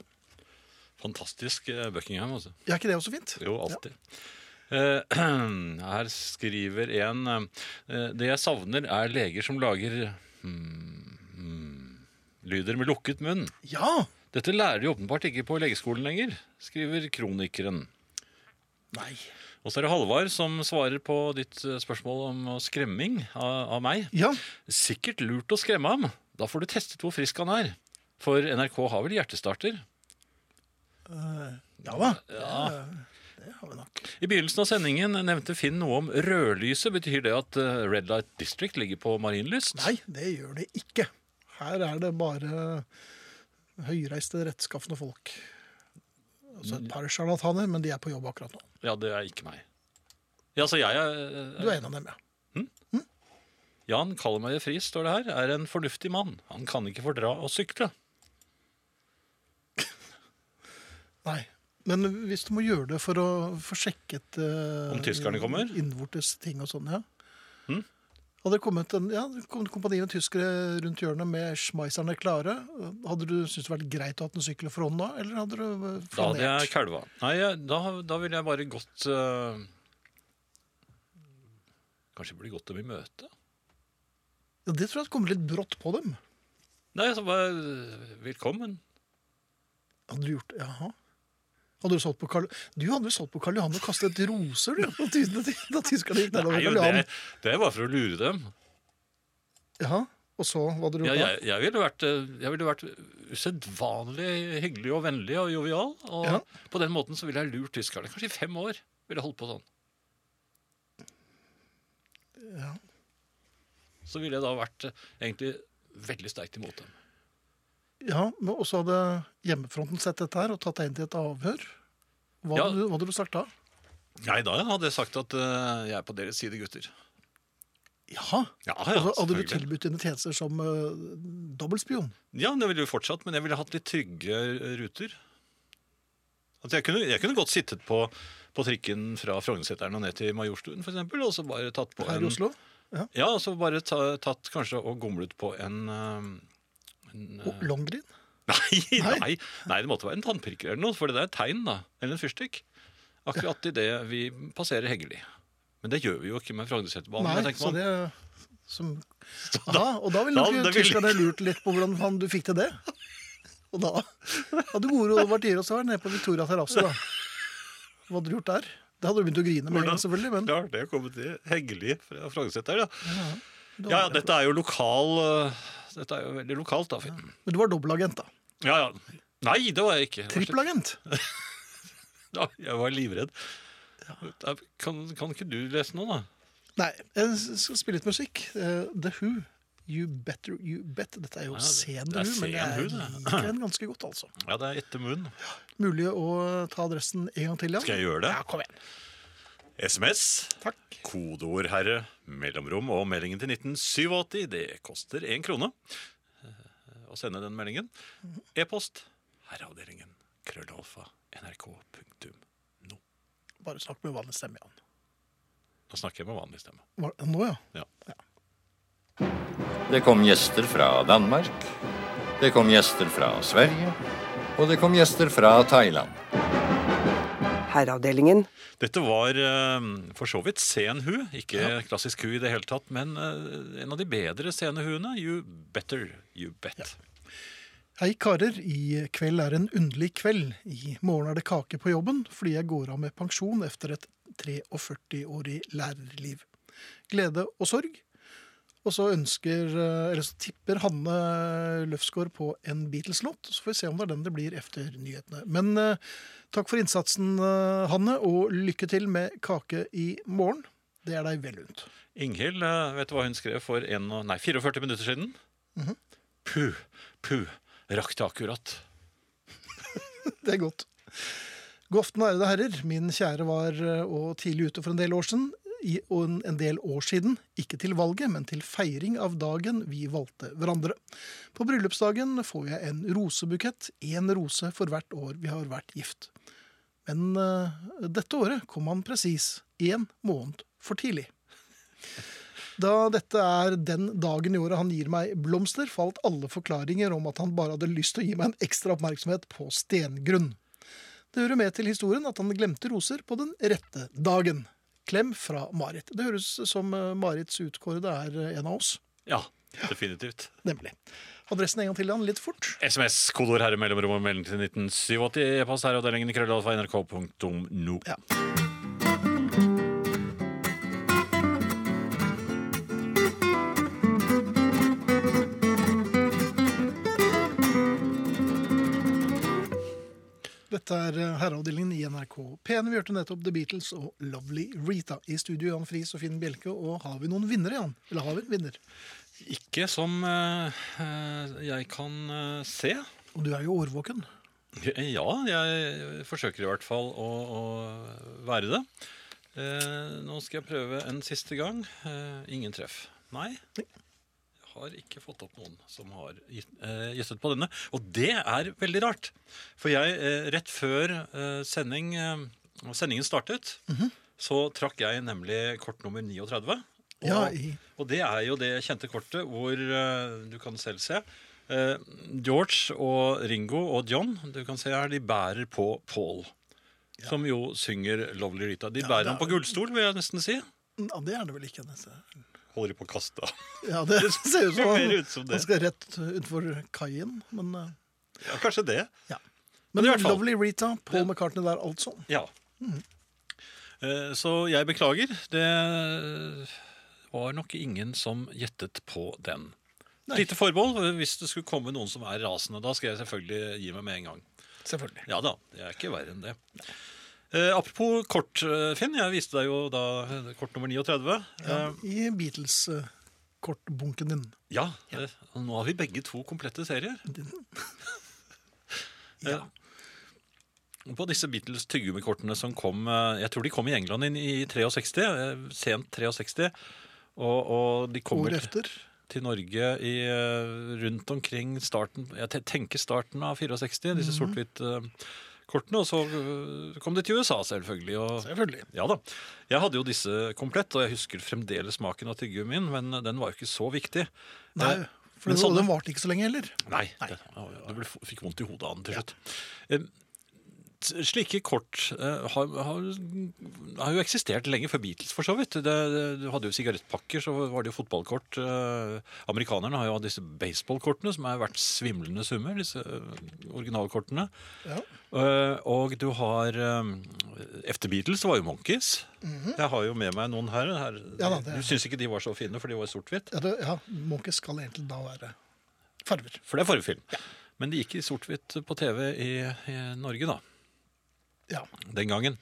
Fantastisk eh, Buckingham, altså.
Er ikke det også fint?
Jo, alltid. Eh, her skriver en eh, Det jeg savner, er leger som lager hmm, hmm, lyder med lukket munn.
Ja!
Dette lærer de åpenbart ikke på legeskolen lenger, skriver kronikeren.
Nei.
Og så er det Halvard som svarer på ditt eh, spørsmål om eh, skremming av, av meg.
Ja,
Sikkert lurt å skremme ham. Da får du testet hvor frisk han er. For NRK har vel hjertestarter?
ja hva? Det har vi nok.
I begynnelsen av sendingen nevnte Finn noe om rødlyset. Betyr det at eh, Red Light District ligger på Marienlyst?
Nei, det gjør det ikke. Her er det bare høyreiste, rettskaffende folk. Altså et par sjarlataner, men de er på jobb akkurat nå.
Ja, det er ikke meg. Ja, så jeg er eh,
Du er en av dem, ja.
Jan Kallemøye Friis, står det her, er en fornuftig mann. Han kan ikke fordra å sykle.
Nei. Men hvis du må gjøre det for å få sjekket eh,
Om tyskerne kommer? Hm?
Innvortes ting og sånn, ja. Hadde det kommet en, ja, det kom et kompani med tyskere rundt hjørnet med schmeiserne klare, hadde du syntes det vært greit å ha hatt en sykkel for hånden da, eller hadde du eh,
Da hadde jeg
flanert?
kalva. Nei, jeg- da, da ville jeg bare gått eh, Kanskje jeg burde gått dem i møte?
Ja, det tror jeg kommer litt brått på dem.
Nei, så bare eh, Velkommen.
Hadde du gjort det? Jaha. Hadde du solgt på Karl... Du hadde jo solgt på Karl Johan og kastet roser, du, da ty- da ty- da tyskerne gikk nedover
Nei, jo,
Karl Johan.
det, det var for å lure dem.
Jaha. Og så, hva hadde du
Ja,
gjort da?
jeg, jeg ville vært, eh, jeg ville vært usedvanlig hyggelig og vennlig og jovial. Og
Ja.
på den måten så ville jeg lurt tyskerne. Kanskje i fem år ville jeg holdt på sånn.
Ja.
så ville jeg da vært eh, egentlig veldig sterkt imot dem.
Ja, men også hadde hjemmefronten sett dette her og tatt deg inn til et avhør. Hva,
Ja.
hadde, du, hva hadde du sagt da?
Nei, da hadde jeg sagt at eh, jeg er på deres side, gutter.
Ja,
Ja, ja,
altså, Hadde du
selvfølgelig.
tilbudt dine tjenester som uh, dobbeltspion?
Ja, det ville jo fortsatt, men jeg ville hatt litt trygge ruter. Altså, jeg, kunne, jeg kunne godt sittet på, på trikken fra Frognerseteren og ned til Majorstuen, for eksempel, og så bare tatt på
Her
en eh,
i Oslo?
Ja, og så bare ta, tatt kanskje og gomlet på en, eh, en eh,
Og Longrin?
nei,
Nei.
nei, nei, det måtte være en tannpirker eller noe, for det der er et tegn, da. Eller en fyrstikk. Akkurat idet vi passerer Heggeli. Men det gjør vi jo ikke med Frognerseterbanen.
Nei,
men tenker
så
man-
det som, da, Og da ville
da-
nok
det ville-
tyskerne lurt litt på hvordan faen du fikk til det. Og da hadde moro og vært også vært nede på Victoria terrasse, da. Hva hadde du gjort der? Det hadde du begynt å grine med en gang, selvfølgelig. Men
Klart det å komme til Heggeli fra Frognerseteren, ja. Ja, ja, dette er jo lokal eh, Dette er jo veldig lokalt, da, Finn.
Men du var dobbeltagent, da.
Ja, ja. Nei, det var jeg ikke. Det var slett-
Trippelagent.
Ja, jeg var livredd. Da Kan, kan ikke du lese noe, da?
Nei, jeg skal spille litt musikk. Eh, The Who. You Better You Bet. Dette er jo
Ja, det-
sen
det
The
er
Who, men jeg
sen Who, det.
liker den ganske godt, altså.
Ja, det er etter munnen.
Mulig å ta adressen en gang til, ja.
Skal jeg gjøre det?
Ja, kom igjen.
SMS.
Takk.
Kodeord herre, mellomrom og meldingen til 1987. Det koster én krone eh, å sende den meldingen.
Mhm.
E-post herreavdelingen krøllalfa nrk.no.
Bare snakk med vanlig stemme, Jan.
Nå snakker jeg med vanlig stemme.
Var- Nå, ja.
Ja.
Det kom gjester fra Danmark. Det kom gjester fra Sverige. Og det kom gjester fra Thailand.
Herreavdelingen.
Dette var eh, for så vidt sen hu. Ikke klassisk hu i det hele tatt, men eh, en av de bedre sene huene. You better, you bet.
Hei, karer. I kveld er en underlig kveld. I morgen er det kake på jobben fordi jeg går av med pensjon etter et 43-årig lærerliv. Glede og sorg. Og så ønsker, eh, eller så tipper Hanne Løfsgaard på en Beatles-låt. Så får vi se om det er den det blir efter nyhetene. Men eh, takk for innsatsen, eh, Hanne, og lykke til med kake i morgen. Det er deg vel unt.
Inghild, eh, vet du hva hun skrev for en, og- nei, 44 minutter siden? Puh, puh, rakk det akkurat.
Det er godt. God aften, ærede herrer. Min kjære var eh, og tidlig ute for en del år siden. I, og en- en del år siden, ikke til valget, men til feiring av dagen vi valgte hverandre. På bryllupsdagen får jeg en rosebukett, én rose for hvert år vi har vært gift. Men eh, dette året kom han presis én måned for tidlig. Da dette er den dagen i året han gir meg blomster, falt alle forklaringer om at han bare hadde lyst til å gi meg en ekstra oppmerksomhet på stengrunn. Det hører med til historien at han glemte roser på den rette dagen. Klem fra Marit. Det høres som eh, Marits utkårede er eh, en av oss.
Ja, definitivt.
Nemlig. Adressen en gang til han litt fort.
SMS, kodeord herre mellomrom og melding til 1987. E-post herreavdelingen i krøllalfa nrk.no.
Ja. Dette er eh, herreavdelingen i NRK P1. Vi hørte nettopp The Beatles og Lovely Rita. I studio Jan Friis og Finn Bjelke. Og har vi noen vinnere, Jan? Eller har vi en vinner?
Ikke som eh, eh, jeg kan eh, se.
Og du er jo årvåken.
Ja, jeg forsøker i hvert fall å, å være det. Eh, nå skal jeg prøve en siste gang. Eh, ingen treff. Nei.
Nei.
Jeg har ikke fått opp noen som har gitt- eh, gjettet på denne. Og det er veldig rart. For jeg, eh, rett før eh, sending, eh, sendingen startet,
Mhm.
så trakk jeg nemlig kort nummer 39. Og,
Ja, i-
og det er jo det kjente kortet hvor eh, du kan selv se. eh, George og Ringo og John du kan se her, de bærer på Paul. Som jo synger 'Lovely Rita'. De bærer
det
ham på gullstol, vil jeg nesten si.
Ja, det er det vel ikke. Nesse.
Holder de på å kaste av.
Ja, det ser ut som
mer
han,
ut som det.
han skal rett utenfor kaien, men eh,
Ja, kanskje det.
ja.
Men
Men
i hvert fall-
Lovely Rita, Paul McCartney der, altså.
Ja. Mm. Eh, Så jeg beklager. Det var nok ingen som gjettet på den. Lite forbehold eh, hvis det skulle komme noen som er rasende. Da skal jeg selvfølgelig gi meg med en gang.
Selvfølgelig.
Ja da, det er ikke verre enn det. Eh, apropos kort, eh, Finn. Jeg viste deg jo da eh, kort nummer 39. Eh,
I Beatles-kortbunken din.
ja, eh, nå har vi begge to komplette serier.
Ja.
Eh, På disse Beatles tyggegummikortene som kom eh, Jeg tror de kom i England inn i 63, eh, sent 63. Og, og de kommer
Året
til,
efter.
til Norge i, eh, rundt omkring starten Jeg te- tenker starten av 64,
Mhm.
disse sort-hvitt-kortene. Og så eh, kom de til USA, selvfølgelig. Og,
Selvfølgelig.
ja da. Jeg hadde jo disse komplett, og jeg husker fremdeles smaken av tyggegummin, men den var jo ikke så viktig.
Nei,
Eh,
for
men
den,
sånne-
den varte ikke så lenge heller.
Nei, det- du ble, fikk vondt i hodet av den til slutt. Em, s- Slike kort eh, har, har, har jo eksistert lenge før Beatles, for så vidt. Det, det, du hadde jo sigarettpakker, så var det jo fotballkort. Eh, Amerikanerne har jo hatt disse baseballkortene, som er verdt svimlende summer. Disse eh, originalkortene.
Ja.
Eh, og du har eh, Efter Beatles var jo Monkeys. Jeg har jo med meg noen her. her.
Mhm. Ja da, det-
Du syns ikke de var så fine, for de var sort-hvitt?
Ja, det, ja, Monkey skal egentlig da være farver.
For det er forrige film. Men de gikk i sort-hvitt på TV i, i Norge, da.
Ja.
Den gangen.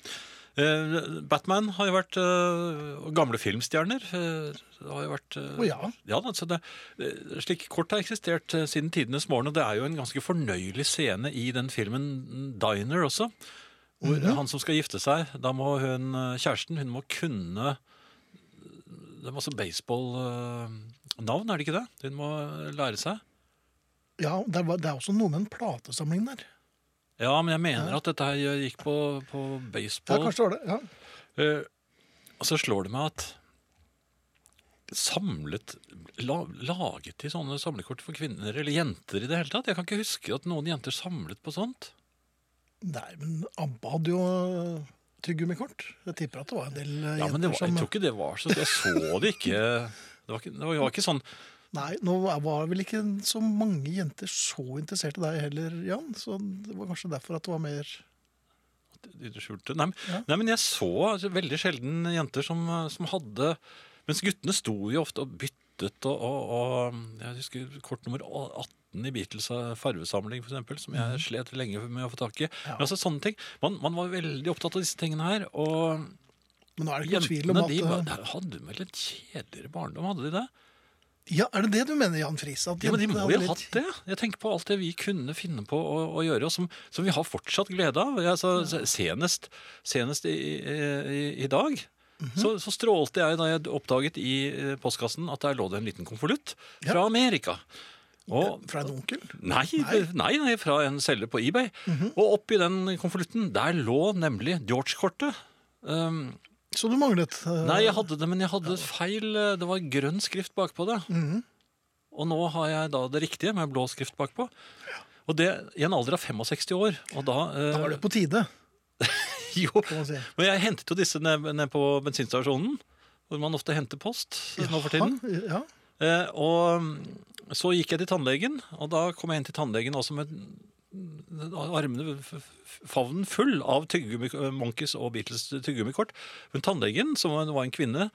Eh, Batman har jo vært eh, Og gamle filmstjerner eh, har jo vært eh,
Å ja.
da, så det, eh, Slike kort har eksistert eh, siden tidenes morgen, og det er jo en ganske fornøyelig scene i den filmen Diner også. Hvor
Mhm.
han som skal gifte seg, da må hun, eh, kjæresten, hun må kunne eh, Det er masse baseball-navn, er det ikke det? Hun må eh, lære seg.
ja det, var, det er også noe med en platesamling der.
Ja, men jeg mener at dette her gikk på, på
Ja,
baseball.
kanskje det var det. Ja.
Eh, og så slår det meg at samlet la, Laget de sånne samlekort for kvinner eller jenter i det hele tatt? Jeg kan ikke huske at noen jenter samlet på sånt.
Nei, men ABBA hadde jo tyggegummikort. Jeg tipper at det var en del eh,
Ja, men det
jenter
var, Jeg
som
tror ikke det var så Jeg så det ikke Det var ikke, det var, det var ikke sånn
Nei, nå var vel ikke så mange jenter så interessert i deg heller, Jan. Så det var kanskje derfor at det var mer
i det skjulte. Nei, men- nei, men jeg så altså, veldig sjelden jenter som, eh, som hadde Mens guttene sto jo ofte og byttet og, og, og Jeg husker kort nummer 18 i Beatles eh, farvesamling, for eksempel, som
Mhm.
jeg slet lenge med å få tak i. Men altså sånne ting, man, man var veldig opptatt av disse tingene her. Og
Men nå er det ikke noen tvil om
jentene
at
de var,
eh,
hadde vel en kjedeligere barndom, hadde de det?
eh, Ja, er det det du mener, Jan Friis? At
Ja, men De
jentene
må
hadde
jo
litt-
ha hatt det. Jeg tenker på alt det vi kunne finne på å, å gjøre, og som, som vi har fortsatt glede av. Jeg, så- senest senest i, i, i dag så, så strålte jeg da jeg oppdaget i eh, postkassen at der lå det en liten konvolutt fra Amerika. Og,
Fra en onkel?
nei, det- nei, nei, fra en selger på eBay. Og oppi den konvolutten, der lå nemlig George-kortet. Um,
Så du manglet eh,
Nei, jeg hadde det, men jeg hadde feil eh, Det var grønn skrift bakpå det. Og nå har jeg da det riktige med blå skrift bakpå. Og det i en alder av 65 år. Og da, eh,
Da var det på tide,
jo,
kan man si.
Men jeg hentet jo disse ned, ned på bensinstasjonen, hvor man ofte henter post eh, nå for tiden.
Ja,
Eh, og mm, så gikk jeg til tannlegen, og da kom jeg inn til tannlegen også med mm, armene f- f- favnen full av tyggegummi- eh, Monkeys og Beatles tyggegummikort. Men tannlegen, som var var en kvinne,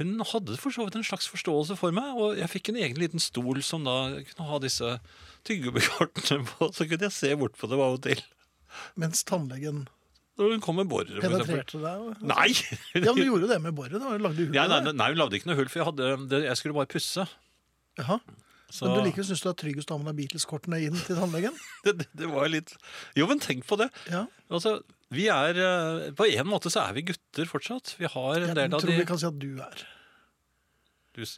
hun hadde for så vidt en slags forståelse for meg, og jeg fikk en egen liten stol som da kunne ha disse tyggegummikortene på, så kunne jeg se bort på dem av og til.
Mens tannlegen
Og hun kom med borer, for eksempel.
penetrerte deg.
Nei!
Ja, men du gjorde det med boret. da, Lagde hull
Ja,
i
nei,
det.
nei, hun lagde ikke noe hull, for jeg, hadde, det- jeg skulle bare pusse.
Jaha.
Så-
Men du likevel syns du er tryggest da man har Beatles-kortene inn til tannlegen?
det, det- det var litt Jo, men tenk på det.
Ja.
Altså, vi er eh, På en måte så er vi gutter fortsatt. Vi har en
Jeg
del av
tror
de
vi kan si at du er.
du, s-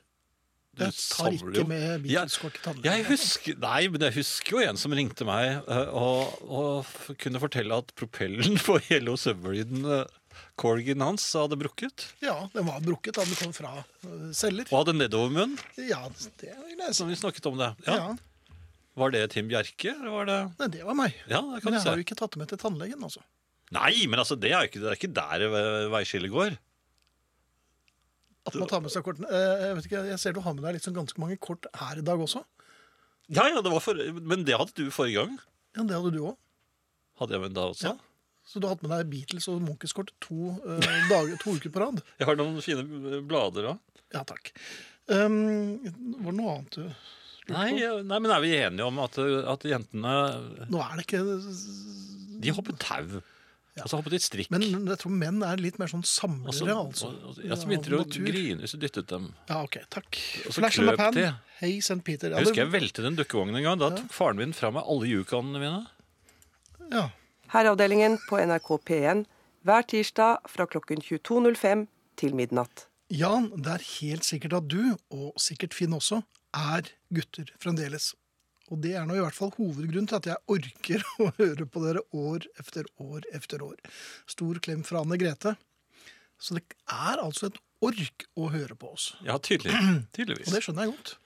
du
Jeg tar
samler jo.
ikke med Beatles-kort til tannlegen.
Jeg husker, nei, men jeg husker jo en som ringte meg eh, og, og f- kunne fortelle at propellen på Yellow Submarine, eh, Corgan hans, hadde brukket.
Ja, den var brukket da den kom fra øh, celler.
Og hadde nedovermunn,
Ja, det vil jeg si.
som vi snakket om det.
Ja.
Ja. Var det Tim Bjerke, eller var det
Nei, det var meg.
Ja, det
Men
kan du
jeg
se.
har jo ikke tatt det med til tannlegen, altså.
Nei, men altså, det er jo ikke, det er ikke der eh, veiskillet går.
At man tar med seg kortene. Eh, Jeg vet ikke, jeg ser du har med deg liksom ganske mange kort her i dag også.
Ja, ja, det var for, Men det hadde du forrige gang.
Ja, Det hadde du òg.
Hadde jeg vel da også?
Ja. Så du har hatt med deg Beatles og Munchers-kort to, eh, dager- to uker på rad.
Jeg har noen fine eh, blader òg.
Ja, takk. Um, var det noe annet øh, du
Nei, nei, men er vi enige om at, at eh, jentene
Nå er det ikke
De hopper tau. Og så hoppet de strikk.
Men jeg tror menn er litt mer sånn samlere,
og så,
altså.
og, og, ja, så
av
begynte de å
natur.
grine hvis du dyttet dem.
Ja, ok, takk.
Og så
Flash in the
krøp
pan.
de.
Hei, St. Peter. Ja,
Jeg husker
det-
jeg veltet en dukkevogn en gang. Da tok faren min fra meg alle jukanene mine.
Ja.
Herreavdelingen på NRK P1 hver tirsdag fra klokken 22.05 til midnatt.
Jan, det er helt sikkert at du, og sikkert Finn også, er gutter fremdeles. Og det er nå i hvert fall hovedgrunnen til at jeg orker å høre på dere år efter år efter år. Stor klem fra Anne Grete. Så det er altså et ork å høre på oss.
Ja, tydelig. tydeligvis.
Og det skjønner jeg godt.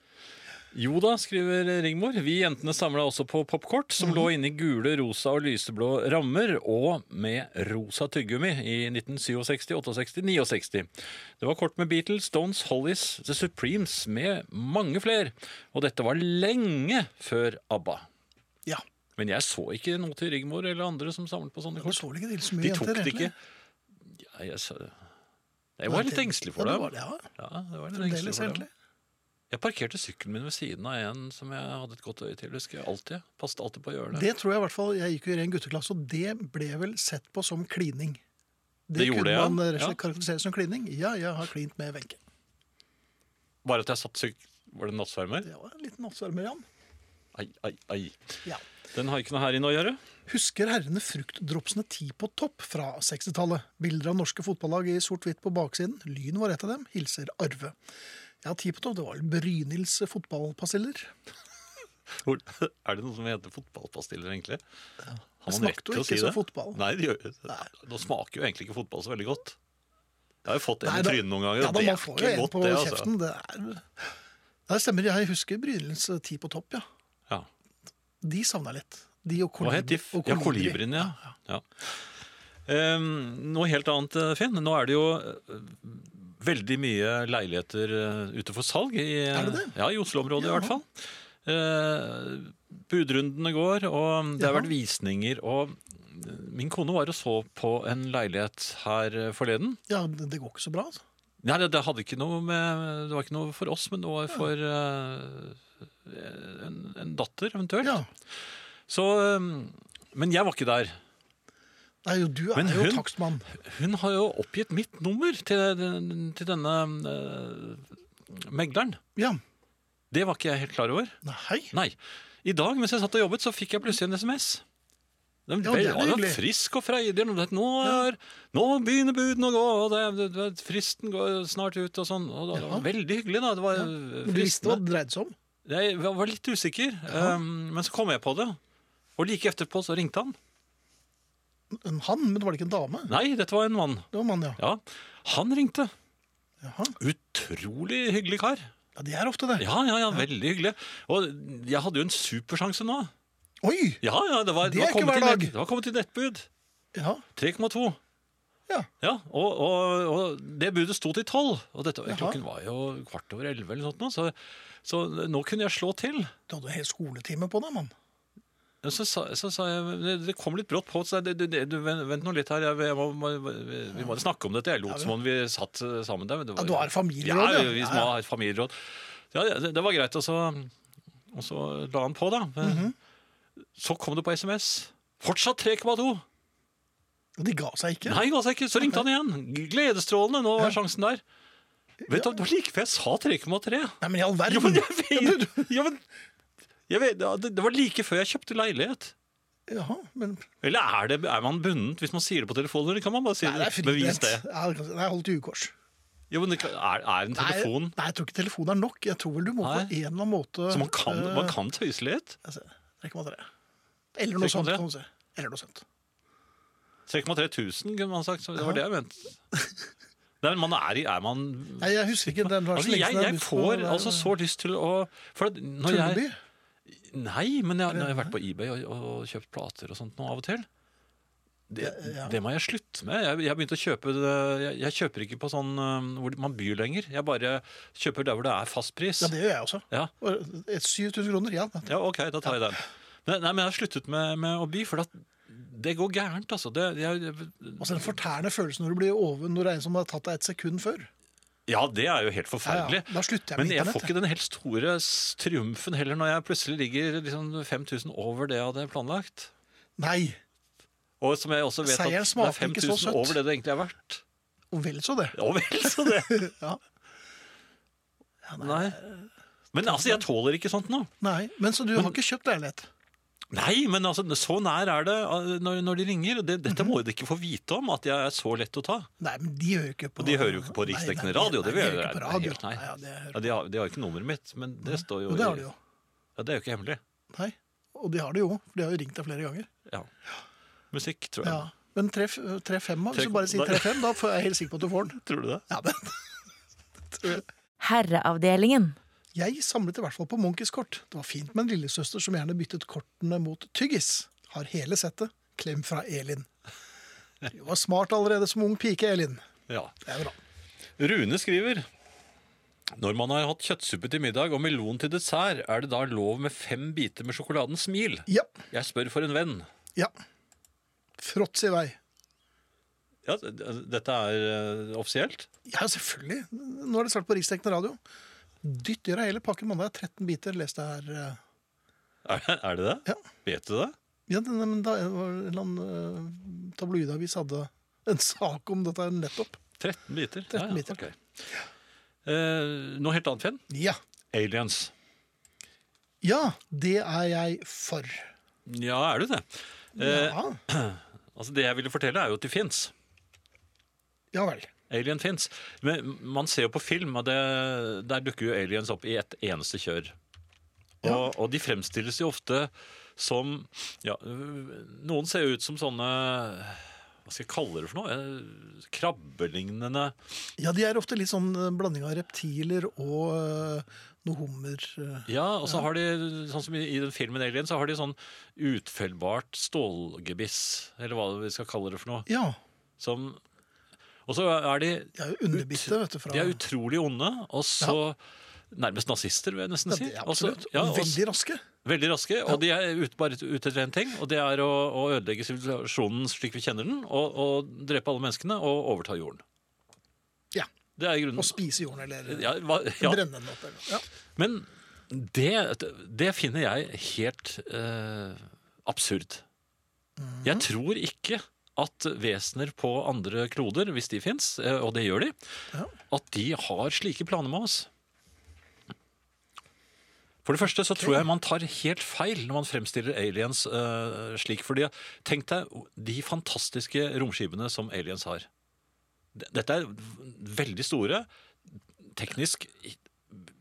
Jo da, skriver Rigmor. Vi jentene samla også på popkort,
Mhm.
som lå inne i gule, rosa og lyseblå rammer, og med rosa tyggegummi i 1967, 68, 69. Det var kort med Beatles, Stones, Hollies, The Supremes med mange flere. Og dette var lenge før ABBA.
Ja.
Men jeg så ikke noe til Rigmor eller andre som samlet på sånne
Du
kort.
så vel ikke til så mye
De tok
jenter,
det ikke.
egentlig?
Ja, jeg, så... jeg var litt engstelig for
ja, du
dem.
var det. Ja,
Ja, det var litt engstelig
fremdeles,
for dem.
egentlig.
Jeg parkerte sykkelen min ved siden av en som jeg hadde et godt øye til. husker jeg alltid. Passet alltid på å gjøre det.
Det tror jeg i hvert fall. Jeg gikk jo i ren gutteklasse, og det ble vel sett på som klining. Det,
Det gjorde
kunne
det, ja.
man rett og slett
Ja.
karakterisere som klining. Ja, jeg har klint med Wenche.
Bare at jeg satt syk... Var det en nattsvermer?
Det var en liten nattsverme, Jan.
Ai, ai, ai.
Ja.
Den har ikke noe her inne å gjøre.
Husker herrene fruktdropsene ti på topp fra 60-tallet? Bilder av norske fotballag i sort-hvitt på baksiden. Lyn var et av dem. Hilser Arve. Ja, ti på topp. Det var vel Brynils fotballpastiller.
Hvor- Er det noe som heter fotballpastiller, egentlig?
Det
Har man rett
smakte jo
til å
ikke
si
som
det?
fotball.
Nei, det gjør... Nå smaker jo egentlig ikke fotball så veldig godt. Jeg har jo fått en
Nei,
i
da-
trynet noen ganger.
Ja,
og
da,
det
man
er
får jo
ikke
en
godt,
på
det, altså.
kjeften. Det er... Nei, det stemmer. Jeg husker Brynils ti på topp, ja.
Ja.
De savna litt. De og
Hva het de?
kolibri. og
Ja, kolibrien, ja. ja. Ehm, noe helt annet, eh, Finn. Nå er det jo eh, veldig mye leiligheter eh, ute for salg. I,
Er det det?
Ja, i Oslo-området i
Jaha.
hvert fall. Eh, budrundene går, og det har
Jaha.
vært visninger. Og eh, min kone var og så på en leilighet her eh, forleden.
Ja, det, det går ikke så bra, altså.
Nei, det, det hadde ikke noe med Det var ikke noe for oss, men det var for eh, en, en datter, eventuelt.
Ja.
Så, eh, men jeg var ikke der.
Nei, jo, du er
Men
jo
hun-
takstmann.
Hun har jo oppgitt mitt nummer til, til denne eh, megleren.
Ja.
Det var ikke jeg helt klar over.
Nei.
Nei. I dag mens jeg satt og jobbet, så fikk jeg plutselig en SMS. Den
Ja, det er
var jo
hyggelig.
frisk og freidig. og det- Nå, er, nå begynner budene å gå, og det, det, det, fristen går snart ut og sånn. Og det var veldig hyggelig, da. Det var eh,
Men Du visste hva
fristende.
det dreide seg om?
Jeg var- var litt usikker, eh, men så kom jeg på det. Og like etterpå så ringte han.
En han, men det var ikke en dame.
Nei, dette var en mann.
Det var mann, ja.
Ja, Han ringte.
Jaha.
Utrolig hyggelig kar.
Ja, Det er ofte det.
Ja, ja, ja, veldig hyggelig. Og jeg hadde jo en supersjanse nå.
Oi!
Ja, ja, det var,
Det
det
er
var,
ikke
kommet,
hver
i nett,
dag.
det var kommet i nettbud.
Ja.
3,2.
Ja.
Ja, og, og, og det budet sto til 12. Og dette,
Jaha.
klokken var jo kvart over 11 eller noe sånt, nå, så, så nå kunne jeg slå til.
Du hadde en hel skoletime på deg, mann.
Og Så sa, så sa jeg, det, det kom litt brått på, så jeg, det, det, du, vent vent nå litt her, jeg, jeg må, må, vi, vi må snakke om dette. Jeg lot som om vi satt eh, sammen der. Men det
Ja,
var,
du har familieråd,
ja.
ja.
vi
Ja, ja.
må ha et familieråd. Ja, ja, det, det var greit, og så, og så la han på da. Men
Mhm.
Så kom det på sms. Fortsatt 3,2.
Og de ga seg ikke.
Nei, ga seg ikke. Så ringte han igjen. Gledesstrålende, nå er sjansen der. Vet du, hva, Det var like før jeg sa 3,3.
Nei, men i all
Jo, men
verden!
jeg vet, ja, men, jeg vet, ja, det, det var like før jeg kjøpte leilighet.
Jaha, men
Eller er, det, er man bundet hvis man sier det på telefonen? Eller kan man bare si
Nei, det er
det? Bevis
fribrent.
det.
Ja, det kan- Nei, hold til ukors.
Jo, men det kan- er, er en
Nei,
telefon
nei, jeg tror ikke telefon er nok. Jeg tror vel du må
Nei.
på en eller annen måte
Så man kan,
eh,
man kan tøyse litt.
jeg ser, 3,3. Eller noe sånt,
3,3.
kan du si. Eller noe sånt.
3,3000 kunne man sagt. Så det var det jeg mente. Nei, men man er, i- er man
Nei, jeg husker ikke. Det var så
Altså,
lenge
jeg,
siden har
jeg
begynt på
får
det der-
altså så lyst til å For at når jeg
Tulleby?
Nei, men jeg, nå har jeg vært på eBay og, og kjøpt plater og sånt nå av og til. Det, det må jeg slutte med. Jeg, jeg begynte å kjøpe det, jeg, jeg kjøper ikke på sånn øhm, hvor man byr lenger. Jeg bare kjøper der hvor det er fast pris.
Ja, det gjør jeg også.
Ja.
Og et 7000 kroner, ja.
Ja, OK, da tar jeg den. Men, nei, men jeg har sluttet med, med å by, for at det går gærent, altså. Det, jeg,
Altså Den fortærende følelsen når du blir over når det er en som har tatt deg et sekund før.
ja, det er jo helt forferdelig.
Ja, ja. Da slutter jeg med
men jeg
internett,
får ikke den helt store s- triumfen heller, når jeg plutselig ligger liksom 5000 over det jeg hadde planlagt.
Nei!
Og som jeg også vet at det
Seieren
er
smaker ikke så
5000
søtt.
over det det egentlig er verdt.
Og vel så det.
Ja vel, så det.
Ja. Ja, nei.
Nei. Men altså, jeg tåler ikke sånt nå.
nei. Men så du har ikke kjøpt leilighet?
Nei, men altså, så nær er det uh, når, når de ringer. og Det,
Mhm.
dette må jo de ikke få vite om, at jeg er så lett å ta.
Nei, men de hører jo ikke på
Og de hører jo ikke på riksdekkende radio. Det
Nei,
vil
de hører
jeg-
ikke på
nei,
radio.
helt nei.
Nei, ja, det hører.
Ja, de, har, de har ikke nummeret mitt, men det står jo
Jo,
i-
det har de jo.
Ja, det er jo ikke hemmelig.
Nei. Og de har det jo, for de har jo ringt deg flere ganger.
Ja. Musikk, tror jeg.
Ja. Men treff tre femma, hvis
Tre-
du bare sier
Nei.
tre fem, da får jeg helt sikker på at du får den.
Tror du det?
Ja, men
Herreavdelingen.
Jeg samlet i hvert fall på Munchs kort. Det var fint med en lillesøster som gjerne byttet kortene mot tyggis. Har hele settet. Klem fra Elin. Du var smart allerede som ung pike, Elin.
Ja.
Det er bra.
Rune skriver Når man har hatt kjøttsuppe til middag og melon til dessert, er det da lov med fem biter med sjokoladens smil?
Ja.
Jeg spør for en venn.
ja. Fråts i vei.
Ja, d- d- dette er eh, offisielt?
Ja, selvfølgelig. Nå er det snart på Riksdekkende radio. Dytt i deg hele pakken mandag. 13 biter, les det her. eh.
Er, det- er det det?
Ja.
Vet du det?
Ja, det- men da var det en eller annen eh, tabloidavis hadde en sak om dette her nettopp.
13 biter.
13 biter.
ok. Eh, noe helt annet, Finn.
Ja.
Aliens.
Ja, det er jeg for.
Ja, er du det? Eh,
Ja,
altså det jeg ville fortelle, er jo at de fins.
ja vel.
Alien fins. Men man ser jo på film, og det, der dukker jo aliens opp i ett eneste kjør. Og, og de fremstilles jo ofte som ja, øh, Noen ser jo ut som sånne Hva skal jeg kalle det for noe? Eh, Krabbelignende
Ja, de er ofte litt sånn eh, blanding av reptiler og eh, noe hummer. eh.
Ja, og så har de, sånn som i, i den filmen Alien, så har de sånn utfellbart stålgebiss, eller hva vi skal kalle det for noe,
Ja,
som Og så er de
de er jo underbitte, vet du. Fra,
De er utrolig onde, og så Nærmest nazister, vil jeg
Ja,
nesten si.
de er
Og så-
absolutt.
ja, og
og
s-
veldig raske.
veldig raske, og de er ut, bare ute etter en ting, og det er å, å ødelegge sivilisasjonen slik vi kjenner den, og, og drepe alle menneskene og overta jorden.
Ja,
Det er i grunnen
Og spise jorden, eller
ja, hva, ja.
brenne den opp. Eller. Ja.
Men det, det finner jeg helt eh, absurd. Jeg tror ikke at vesener på andre kloder, hvis de fins, og det gjør de,
Ja.
at de har slike planer med oss. For det første så tror jeg man tar helt feil når man fremstiller aliens eh, slik. fordi Tenk deg de fantastiske romskipene som aliens har. D- Dette er veldig store, teknisk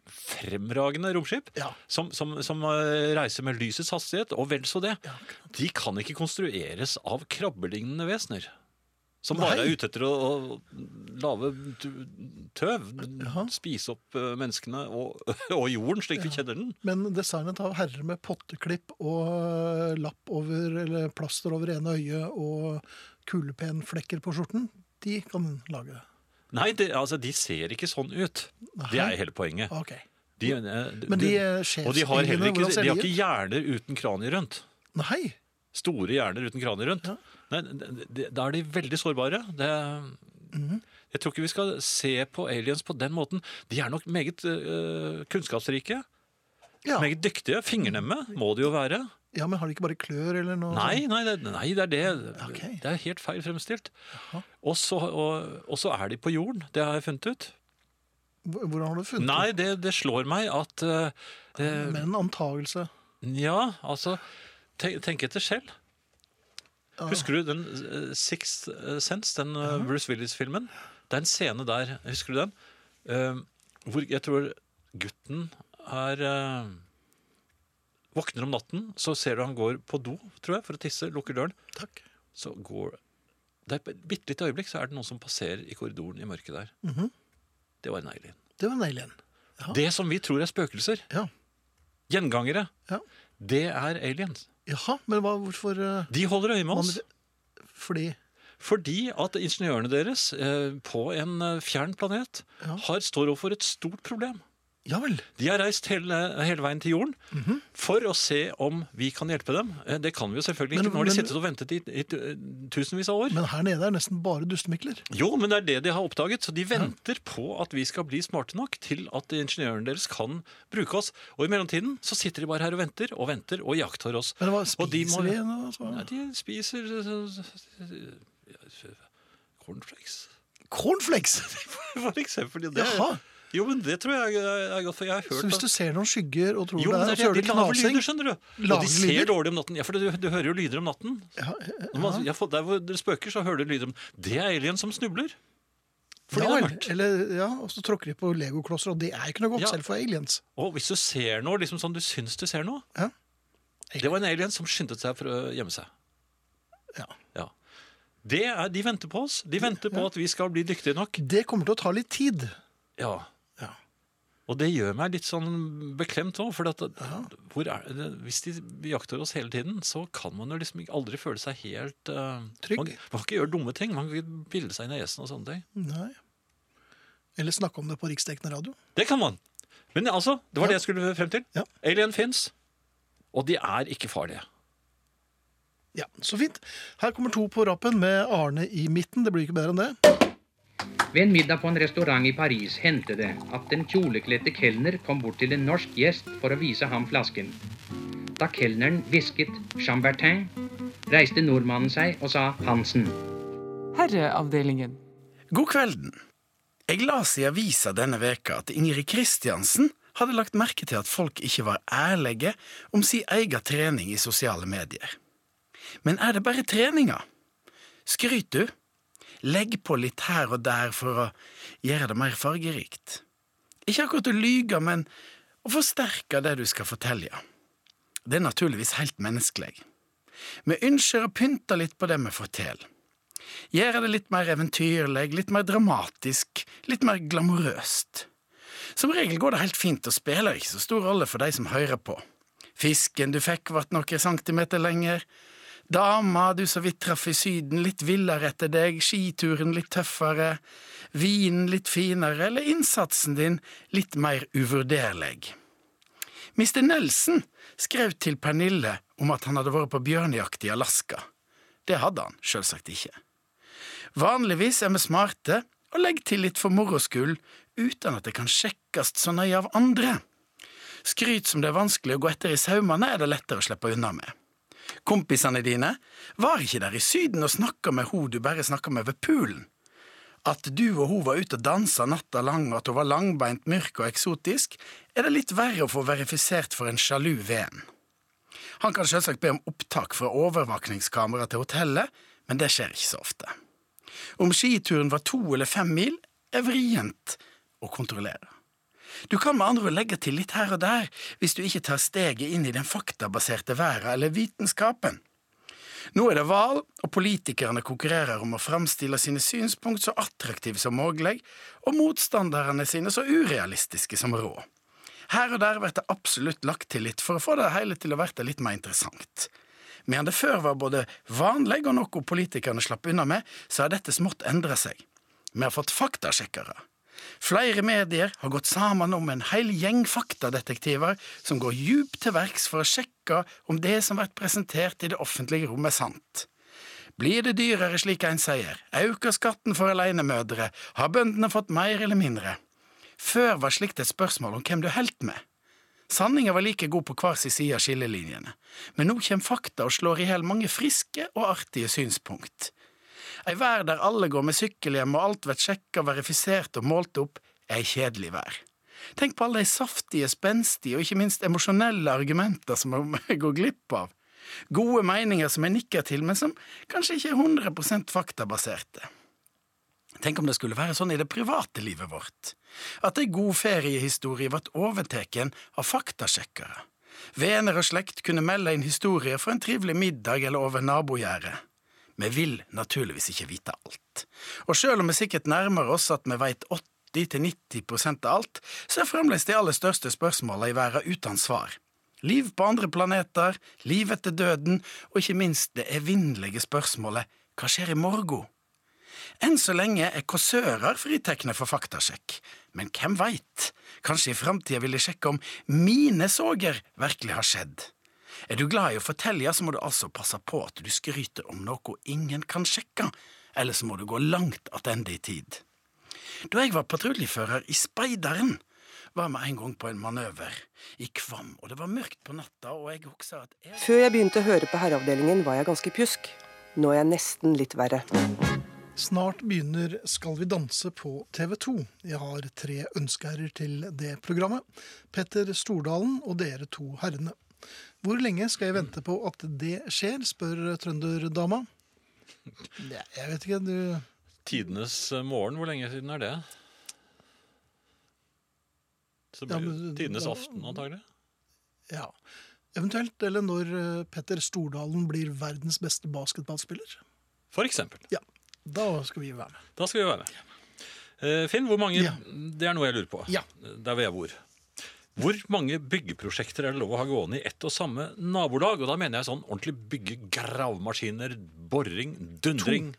fremragende romskip
Ja.
som, som, som eh, reiser med lysets hastighet, og vel så det.
Ja,
De kan ikke konstrueres av krabbelignende vesener. Som
Nei.
bare er ute etter å, å lage t- tøv.
Ja.
Spise opp eh, menneskene og, og jorden slik vi kjenner den.
Men designet av herrer med potteklipp og eh, lapp over, eller plaster over ene øyet og kulepenflekker på skjorten, de kan lage det.
Nei, det, altså, de ser ikke sånn ut. Det er hele poenget.
Ok.
De, eh, d-
Men de
d-
eh,
og de har
sjefsengene,
heller ikke,
hvordan
de
ser
har
de
ikke
ut?
hjerner uten kranier rundt.
Nei.
store hjerner uten kraner rundt.
Ja.
Nei, det- det- da er de veldig sårbare. Det,
Mhm.
Jeg tror ikke vi skal se på aliens på den måten. De er nok meget øh, kunnskapsrike,
Ja.
meget dyktige. Fingernemme må de jo være.
ja, men har de ikke bare klør eller noe?
Nei, nei, det, nei, det er det.
Ok.
Det er helt feil fremstilt. Og så, og, og så er de på jorden, det har jeg funnet ut.
Hvor- Hvordan har du funnet
Nei, det, det slår meg at øh,
det?
øh,
Med en antagelse.
Ja, altså Tenk, tenk etter selv. Husker du den eh, Sixth Sense, den eh, Bruce Willis-filmen? Det er en scene der, husker du den? Eh, hvor jeg tror gutten er eh, Våkner om natten, så ser du han går på do, tror jeg, for å tisse. Lukker døren.
Takk.
Så går Det er et bitte lite øyeblikk, så er det noen som passerer i korridoren i mørket der. Det var en alien.
Det var en alien. Mhm. Ja.
Det som vi tror er spøkelser,
Ja.
gjengangere,
Ja.
det er aliens.
Jaha, men hva, hvorfor eh,
De holder øye med oss
Fordi
fordi at ingeniørene deres eh, på en eh, fjern planet
Ja.
har, står overfor et stort problem.
Ja vel.
De har reist hele, hele veien til jorden
Mhm.
for å se om vi kan hjelpe dem. Eh, Det kan vi jo selvfølgelig
Men-
ikke. Nå har de
men-
sittet og ventet i, i tu- tusenvis av år.
Men her nede er nesten bare dustemikler.
jo, men det er det de har oppdaget. Så de venter på at vi skal bli smarte nok til at ingeniørene deres kan bruke oss. Og i mellomtiden så sitter de bare her og venter og venter og jakter oss.
Men hva
Og de må-
spiser vi nå? altså?
Nei, de spiser eh, cornflakes.
Cornflakes!
For eksempel. ja, Det,
Jaha.
Jo, men det tror jeg er er godt, for jeg har hørt
Så hvis
at-
du ser noen skygger og tror
Jo,
det
men
er,
det
og så
er
hører
det,
du
de lager lyder,
knasing
skjønner du. Og
Lager
de ser
lyder?
dårlig om natten. Ja, for du, du hører jo lyder om natten.
Ja,
Når man, ja, for der hvor dere spøker, så hører du lyder om Det er alien som snubler.
ja,
Fordi det er
vel.
mørkt.
Eller, ja, og så tråkker de på legoklosser, og det er ikke noe godt,
Ja.
selv for aliens.
Og hvis du ser noe, liksom sånn du syns du ser noe
Ja.
Det var en alien som skyndte seg for å gjemme seg.
Ja.
Det er, de venter på oss. De venter på at vi skal bli dyktige nok.
Det kommer til å ta litt tid.
Ja.
Ja.
Og det gjør meg litt sånn beklemt òg, for at, hvor er, det- hvis de jakter oss hele tiden, så kan man jo liksom ikke- aldri føle seg helt eh,
Trygg.
Man, man kan ikke gjøre dumme ting. Man kan ikke pille seg inn i nesen og sånne ting.
Nei. Eller snakke om det på riksdekkende radio.
Det kan man. Men altså, det var det jeg skulle frem til.
Ja.
Alien fins, og de er ikke farlige.
Ja, Så fint. Her kommer to på rappen med Arne i midten. Det blir ikke bedre enn det.
Ved en middag på en restaurant i Paris hendte det at den kjolekledte kelner kom bort til en norsk gjest for å vise ham flasken. Da kelneren hvisket 'Chambertin', reiste nordmannen seg og sa 'Hansen'.
Herreavdelingen.
God kvelden. Jeg las i avisa denne veka at Ingrid Kristiansen hadde lagt merke til at folk ikke var ærlige om sin egen trening i sosiale medier. Men er det bare treninga? Skryt du? Legg på litt her og der for å gjøre det mer fargerikt. Ikke akkurat å lyge, men å forsterke det du skal fortelle. Det er naturligvis helt menneskelig. Vi ønsker å pynte litt på det vi forteller. Gjøre det litt mer eventyrlig, litt mer dramatisk, litt mer glamorøst. Som regel går det helt fint og spiller ikke så stor rolle for de som hører på. Fisken du fikk vart noen centimeter lenger. Dama du så vidt traff i Syden, litt villere etter deg, skituren litt tøffere, vinen litt finere, eller innsatsen din litt mer uvurderlig. Mr. Nelson skrev til Pernille om at han hadde vært på bjørnejakt i Alaska. Det hadde han selvsagt ikke. Vanligvis er vi smarte og legger til litt for moro skyld, uten at det kan sjekkes så nøye av andre. Skryt som det er vanskelig å gå etter i saumene, er det lettere å slippe unna med. Kompisene dine var ikke der i Syden og snakka med ho du bare snakka med ved poolen. At du og hun var ute og dansa natta lang, og at hun var langbeint, mørk og eksotisk, er det litt verre å få verifisert for en sjalu venn. Han kan selvsagt be om opptak fra overvåkningskamera til hotellet, men det skjer ikke så ofte. Om skituren var to eller fem mil, er vrient å kontrollere. Du kan med andre ord legge til litt her og der hvis du ikke tar steget inn i den faktabaserte verden eller vitenskapen. Nå er det valg, og politikerne konkurrerer om å framstille sine synspunkt så attraktive som mulig, og motstanderne sine så urealistiske som råd. Her og der blir det absolutt lagt til litt for å få det hele til å bli litt mer interessant. Medan det før var både vanlig og noe politikerne slapp unna med, så har dette smått endra seg. Vi har fått faktasjekkere. Flere medier har gått sammen om en hel gjeng faktadetektiver som går djupt til verks for å sjekke om det som blir presentert i det offentlige rom, er sant. Blir det dyrere slik en sier? Øker skatten for alenemødre? Har bøndene fått mer eller mindre? Før var slikt et spørsmål om hvem du holdt med. Sanninga var like god på hver sin side av skillelinjene, men nå kommer fakta og slår i hjel mange friske og artige synspunkt. Ei vær der alle går med sykkelhjem og alt blir sjekka, verifisert og målt opp, er ei kjedelig vær. Tenk på alle de saftige, spenstige og ikke minst emosjonelle argumenter som vi går glipp av. Gode meninger som jeg nikker til, men som kanskje ikke er 100 faktabaserte. Tenk om det skulle være sånn i det private livet vårt. At ei god feriehistorie ble overteken av faktasjekkere. Venner og slekt kunne melde inn historier fra en trivelig middag eller over nabogjerdet. Vi vil naturligvis ikke vite alt. Og sjøl om vi sikkert nærmer oss at vi veit 80-90 av alt, så er fremdeles de aller største spørsmåla i verden uten svar. Liv på andre planeter, liv etter døden, og ikke minst det evinnelige spørsmålet hva skjer i morgen? Enn så lenge er kåsører fritekne for faktasjekk, men hvem veit, kanskje i framtida vil de sjekke om mine sorger virkelig har skjedd. Er du glad i å fortelle, ja, så må du altså passe på at du skryter om noe ingen kan sjekke, eller så må du gå langt attende i tid. Da jeg var patruljefører i Speideren, var vi en gang på en manøver i Kvam, og det var mørkt på natta, og jeg husker at jeg
Før jeg begynte å høre på Herreavdelingen, var jeg ganske pjusk. Nå er jeg nesten litt verre.
Snart begynner Skal vi danse på TV 2. Jeg har tre ønskeherrer til det programmet. Petter Stordalen og dere to herrene. Hvor lenge skal jeg vente på at det skjer, spør trønderdama. Nei, Jeg vet ikke, du
Tidenes eh, morgen, hvor lenge siden er det? Så det
Ja,
blir
men-
jo tidenes
da-
aften, antagelig.
Ja. Eventuelt, eller når eh, Petter Stordalen blir verdens beste basketballspiller.
For eksempel.
Da skal vi være med.
Da skal vi være med. Eh, Finn, hvor mange
Ja.
Det er noe jeg lurer på.
Ja.
Der hvor jeg bor. Hvor mange byggeprosjekter er det lov å ha gående i ett og samme nabolag? Og da mener jeg sånn ordentlig bygge gravemaskiner, boring, dundring.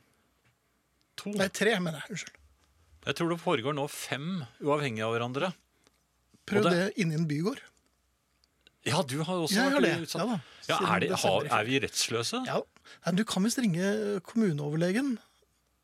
To.
Nei, tre, mener jeg. Unnskyld.
Jeg tror det foregår nå fem uavhengig av hverandre.
Prøv det,
Og det-
inni en bygård.
Ja, du har også
Ja, jeg har
vært
det.
utsatt.
Ja da.
Ja,
Siden
er, det,
desember
har,
i fjor.
er vi rettsløse?
Ja. Nei, du kan visst ringe kommuneoverlegen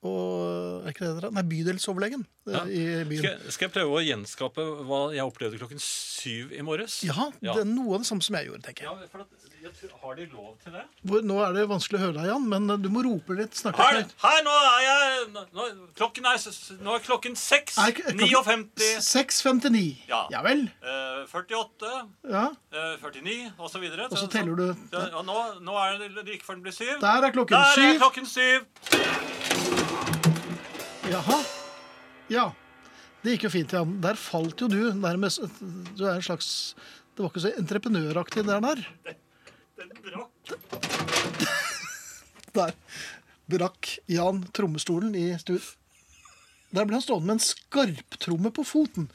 og er ikke det dere? Nei, bydelsoverlegen eh,
Ja.
i byen.
Skal, jeg- skal jeg prøve å gjenskape hva jeg opplevde klokken syv i morges?
Ja,
Ja.
det er noe av det samme som jeg gjorde, tenker jeg.
Ja, for at, jeg tror, har de lov til det?
Hvor- Nå er det vanskelig å høre deg, Jan, men eh, du må rope litt, snakke
Her,
litt.
her nå er jeg nå, nå- klokken er, s- s- Nå er klokken seks.
Er ikke- er klokken-
59.
6.59.
Ja.
ja vel.
eh, 48,
Ja.
eh, 49 og så videre.
Og så teller du.
Ja, ja, nå, nå er det like før den blir syv.
Der er klokken
Der
syv.
er klokken syv.
Jaha. Ja. Det gikk jo fint, Jan. Der falt jo du nærmest Du er en slags Det var ikke så entreprenøraktig, det der.
Den brakk.
Der brakk Jan trommestolen i stu... Der ble han stående med en skarptromme på foten.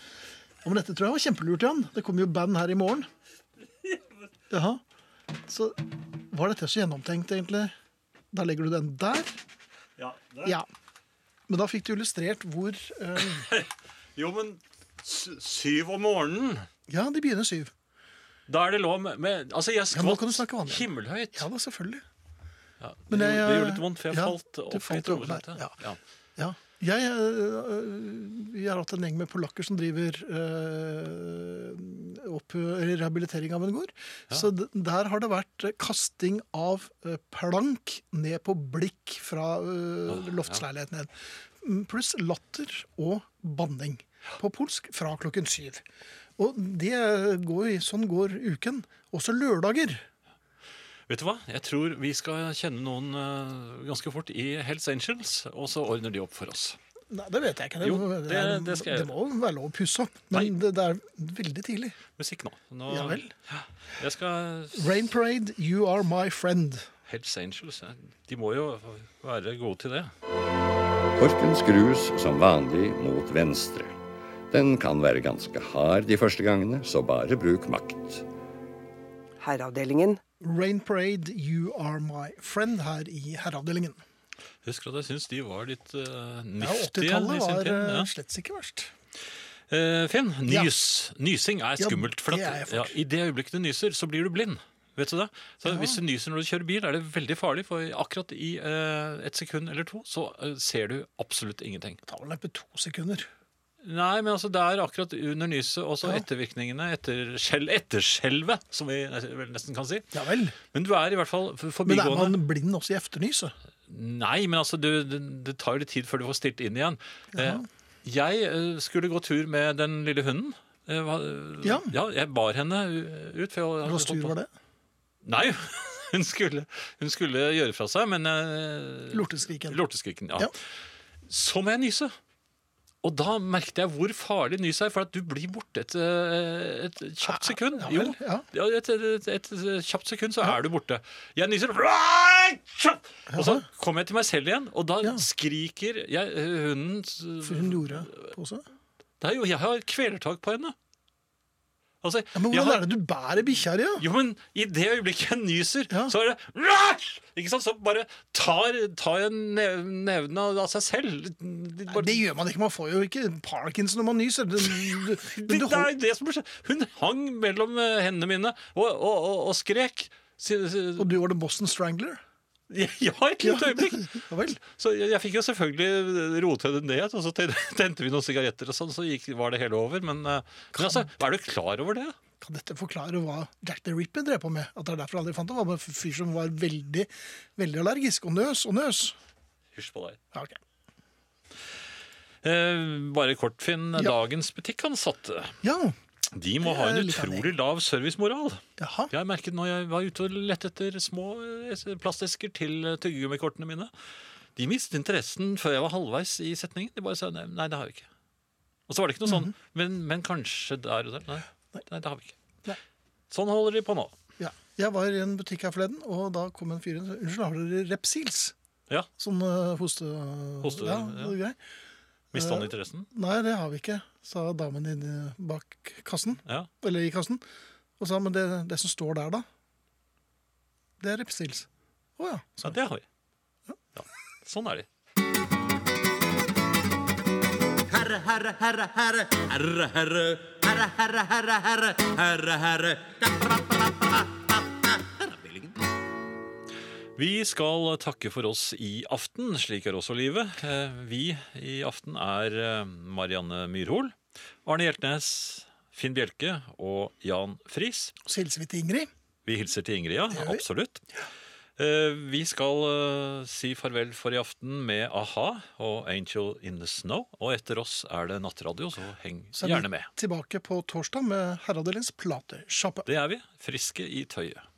Ja, men dette tror jeg var kjempelurt, Jan. Det kommer jo band her i morgen. Jaha. Så var dette så gjennomtenkt, egentlig? Da legger du den der.
Ja, der.
Ja. Men da fikk du illustrert hvor eh,
Jo, men s syv om morgenen
Ja, de begynner syv.
Da er det lov med, med Altså, jeg
Ja, nå
skvatt
kan du snakke vanlig.
himmelhøyt.
Ja da, selvfølgelig.
Ja,
Men jeg,
det, gjorde- det
eh,
gjorde litt vondt, for jeg
ja,
falt
du
opp i
falt over der,
trommesettet.
ja.
Ja.
Ja. Jeg, øh, vi har hatt en gjeng med polakker som driver øh, opp, eller rehabilitering av en gård. Så d- der har det vært eh, kasting av eh, plank ned på blikk fra øh,
Åh, ja.
loftsleiligheten igjen. Mm, Pluss latter og banning på polsk fra klokken syv. Og det går, sånn går uken. Også lørdager.
Vet du hva? Jeg tror vi skal kjenne noen eh, ganske fort i Hells Angels, og så ordner de opp for oss.
Nei, det vet jeg ikke.
Jo,
må-
det-
er-
det skal jeg
det må være lov å pusse opp. Men det, det er veldig tidlig.
Musikk nå. nå
Ja vel.
Ja. Jeg skal
Rain Parade, You Are My Friend.
Hells Angels. ja. De må jo være gode til det.
Korken skrus som vanlig mot venstre. Den kan være ganske hard de første gangene, så bare bruk makt.
Herreavdelingen.
Rain Parade, You Are My Friend her i herreavdelingen.
Husker at jeg syns de var litt eh,
Ja,
niftige
80-tallet
i sin
var
tid.
eh,
Ja.
slett ikke verst.
Eh, Finn, nys. Nysing er
Ja,
skummelt. For
det er jeg
at,
for.
ja, I det øyeblikket du nyser, så blir du blind. Vet du det? Så Hvis du nyser når du kjører bil, er det veldig farlig. For akkurat i eh, et sekund eller to så eh, ser du absolutt ingenting.
Det tar vel neppe to sekunder.
Nei, men altså det er akkurat under nyset og så
Ja.
ettervirkningene etter skjel- etterskjelvet, som vi eh, vel nesten kan si.
Ja vel.
Men du er i hvert fall f-
Men er
forbigående.
man blind også i efternyset?
Nei, men altså du, det, det tar jo litt tid før du får stilt inn igjen. Eh, jeg eh, skulle gå tur med den lille hunden. Eh, hva-
Ja.
jeg bar henne u- ut. for jeg-
Hva slags tur var det?
Nei, hun skulle, hun skulle gjøre fra seg, men eh,
Lorteskriken.
Lorteskriken, ja.
Ja.
Så må jeg nyse. Og da merket jeg hvor farlig nys er, for at du blir borte et, eh, et kjapt sekund.
Ja
Jo,
vel, ja.
ja, et, et, et, et kjapt sekund så er du borte. Jeg nyser, og så kommer jeg til meg selv igjen, og da
Ja.
skriker jeg, eh, hunden
For hun gjorde det også.
det er jo, Jeg har kvelertak på henne. Altså,
Ja, men
jeg
hvordan
har-
er det du bærer bikkja di? da?
Jo, men i det øyeblikket jeg nyser, så er det Rush! Ikke sant? Så bare tar, tar jeg nev- nevene av- av seg selv. Det, bare,
Det gjør man ikke. Man får jo ikke Parkinson når man nyser. Det, det,
det,
du
det er det som skjer. Hun hang mellom eh, hendene mine og, og, og, og skrek. Si- si-
Og du var The Boston Strangler?
Ja, et lite øyeblikk.
Ja vel.
Så jeg, jeg fikk jo selvfølgelig eh, rotet det ned, og så ten- tente vi noen sigaretter og sånn, så gikk, var det hele over. Men, eh, men altså, er du klar over det?
Kan dette forklare hva Jack the Ripper drev på med? At det er derfor jeg aldri fant ham? Var bare en fyr som var veldig, veldig allergisk. Og nøs og nøs.
Hysj på deg.
Ja, ok.
Eh, bare kort, Finn. Dagens butikk han satte.
Ja.
De må
Det
ha en
er litt
utrolig lav servicemoral.
Jaha.
Jeg merket når jeg var ute og lette etter små eh, plastesker til eh, tyggegummikortene mine. De mistet interessen før jeg var halvveis i setningen. De bare sa nei, nei det har vi ikke. Og så var det ikke noe sånn, men, men kanskje der og der. Nei, nei det har vi ikke.
Mhm. Nei.
Sånn holder de på nå.
Ja. Jeg var i en butikk her forleden, og da kom en fyr inn og sa unnskyld, har dere Repsils?
Ja,
Sånn uh, hoste...
Hoste,
ja, det
ja.
er grei.
Mista han
Eh,
interessen?
Nei, det har vi ikke, sa damen inne bak kassen.
Ja.
Eller i kassen. Og sa men det, det som står der, da, det er Repsils. Å ja.
ja, det har vi. Ja. Sånn er de.
Herre, herre, herre, herre, herre, herre, herre, herre, herre, herre, herre, herre.
Vi skal takke for oss i aften. Slik er også livet. Eh, Vi i aften er eh, Marianne Myrhol, Arne Hjeltnes, Finn Bjelke og Jan Friis.
Så hilser vi til Ingrid.
Vi hilser til Ingrid, ja.
gjør vi.
Absolutt. Eh, Vi skal eh, si farvel for i aften med a-ha og 'Angel in the Snow'. Og etter oss er det nattradio, så heng
Så er vi
gjerne med.
tilbake på torsdag med Herreavdelingens platesjappe.
Det er vi. Friske i tøyet.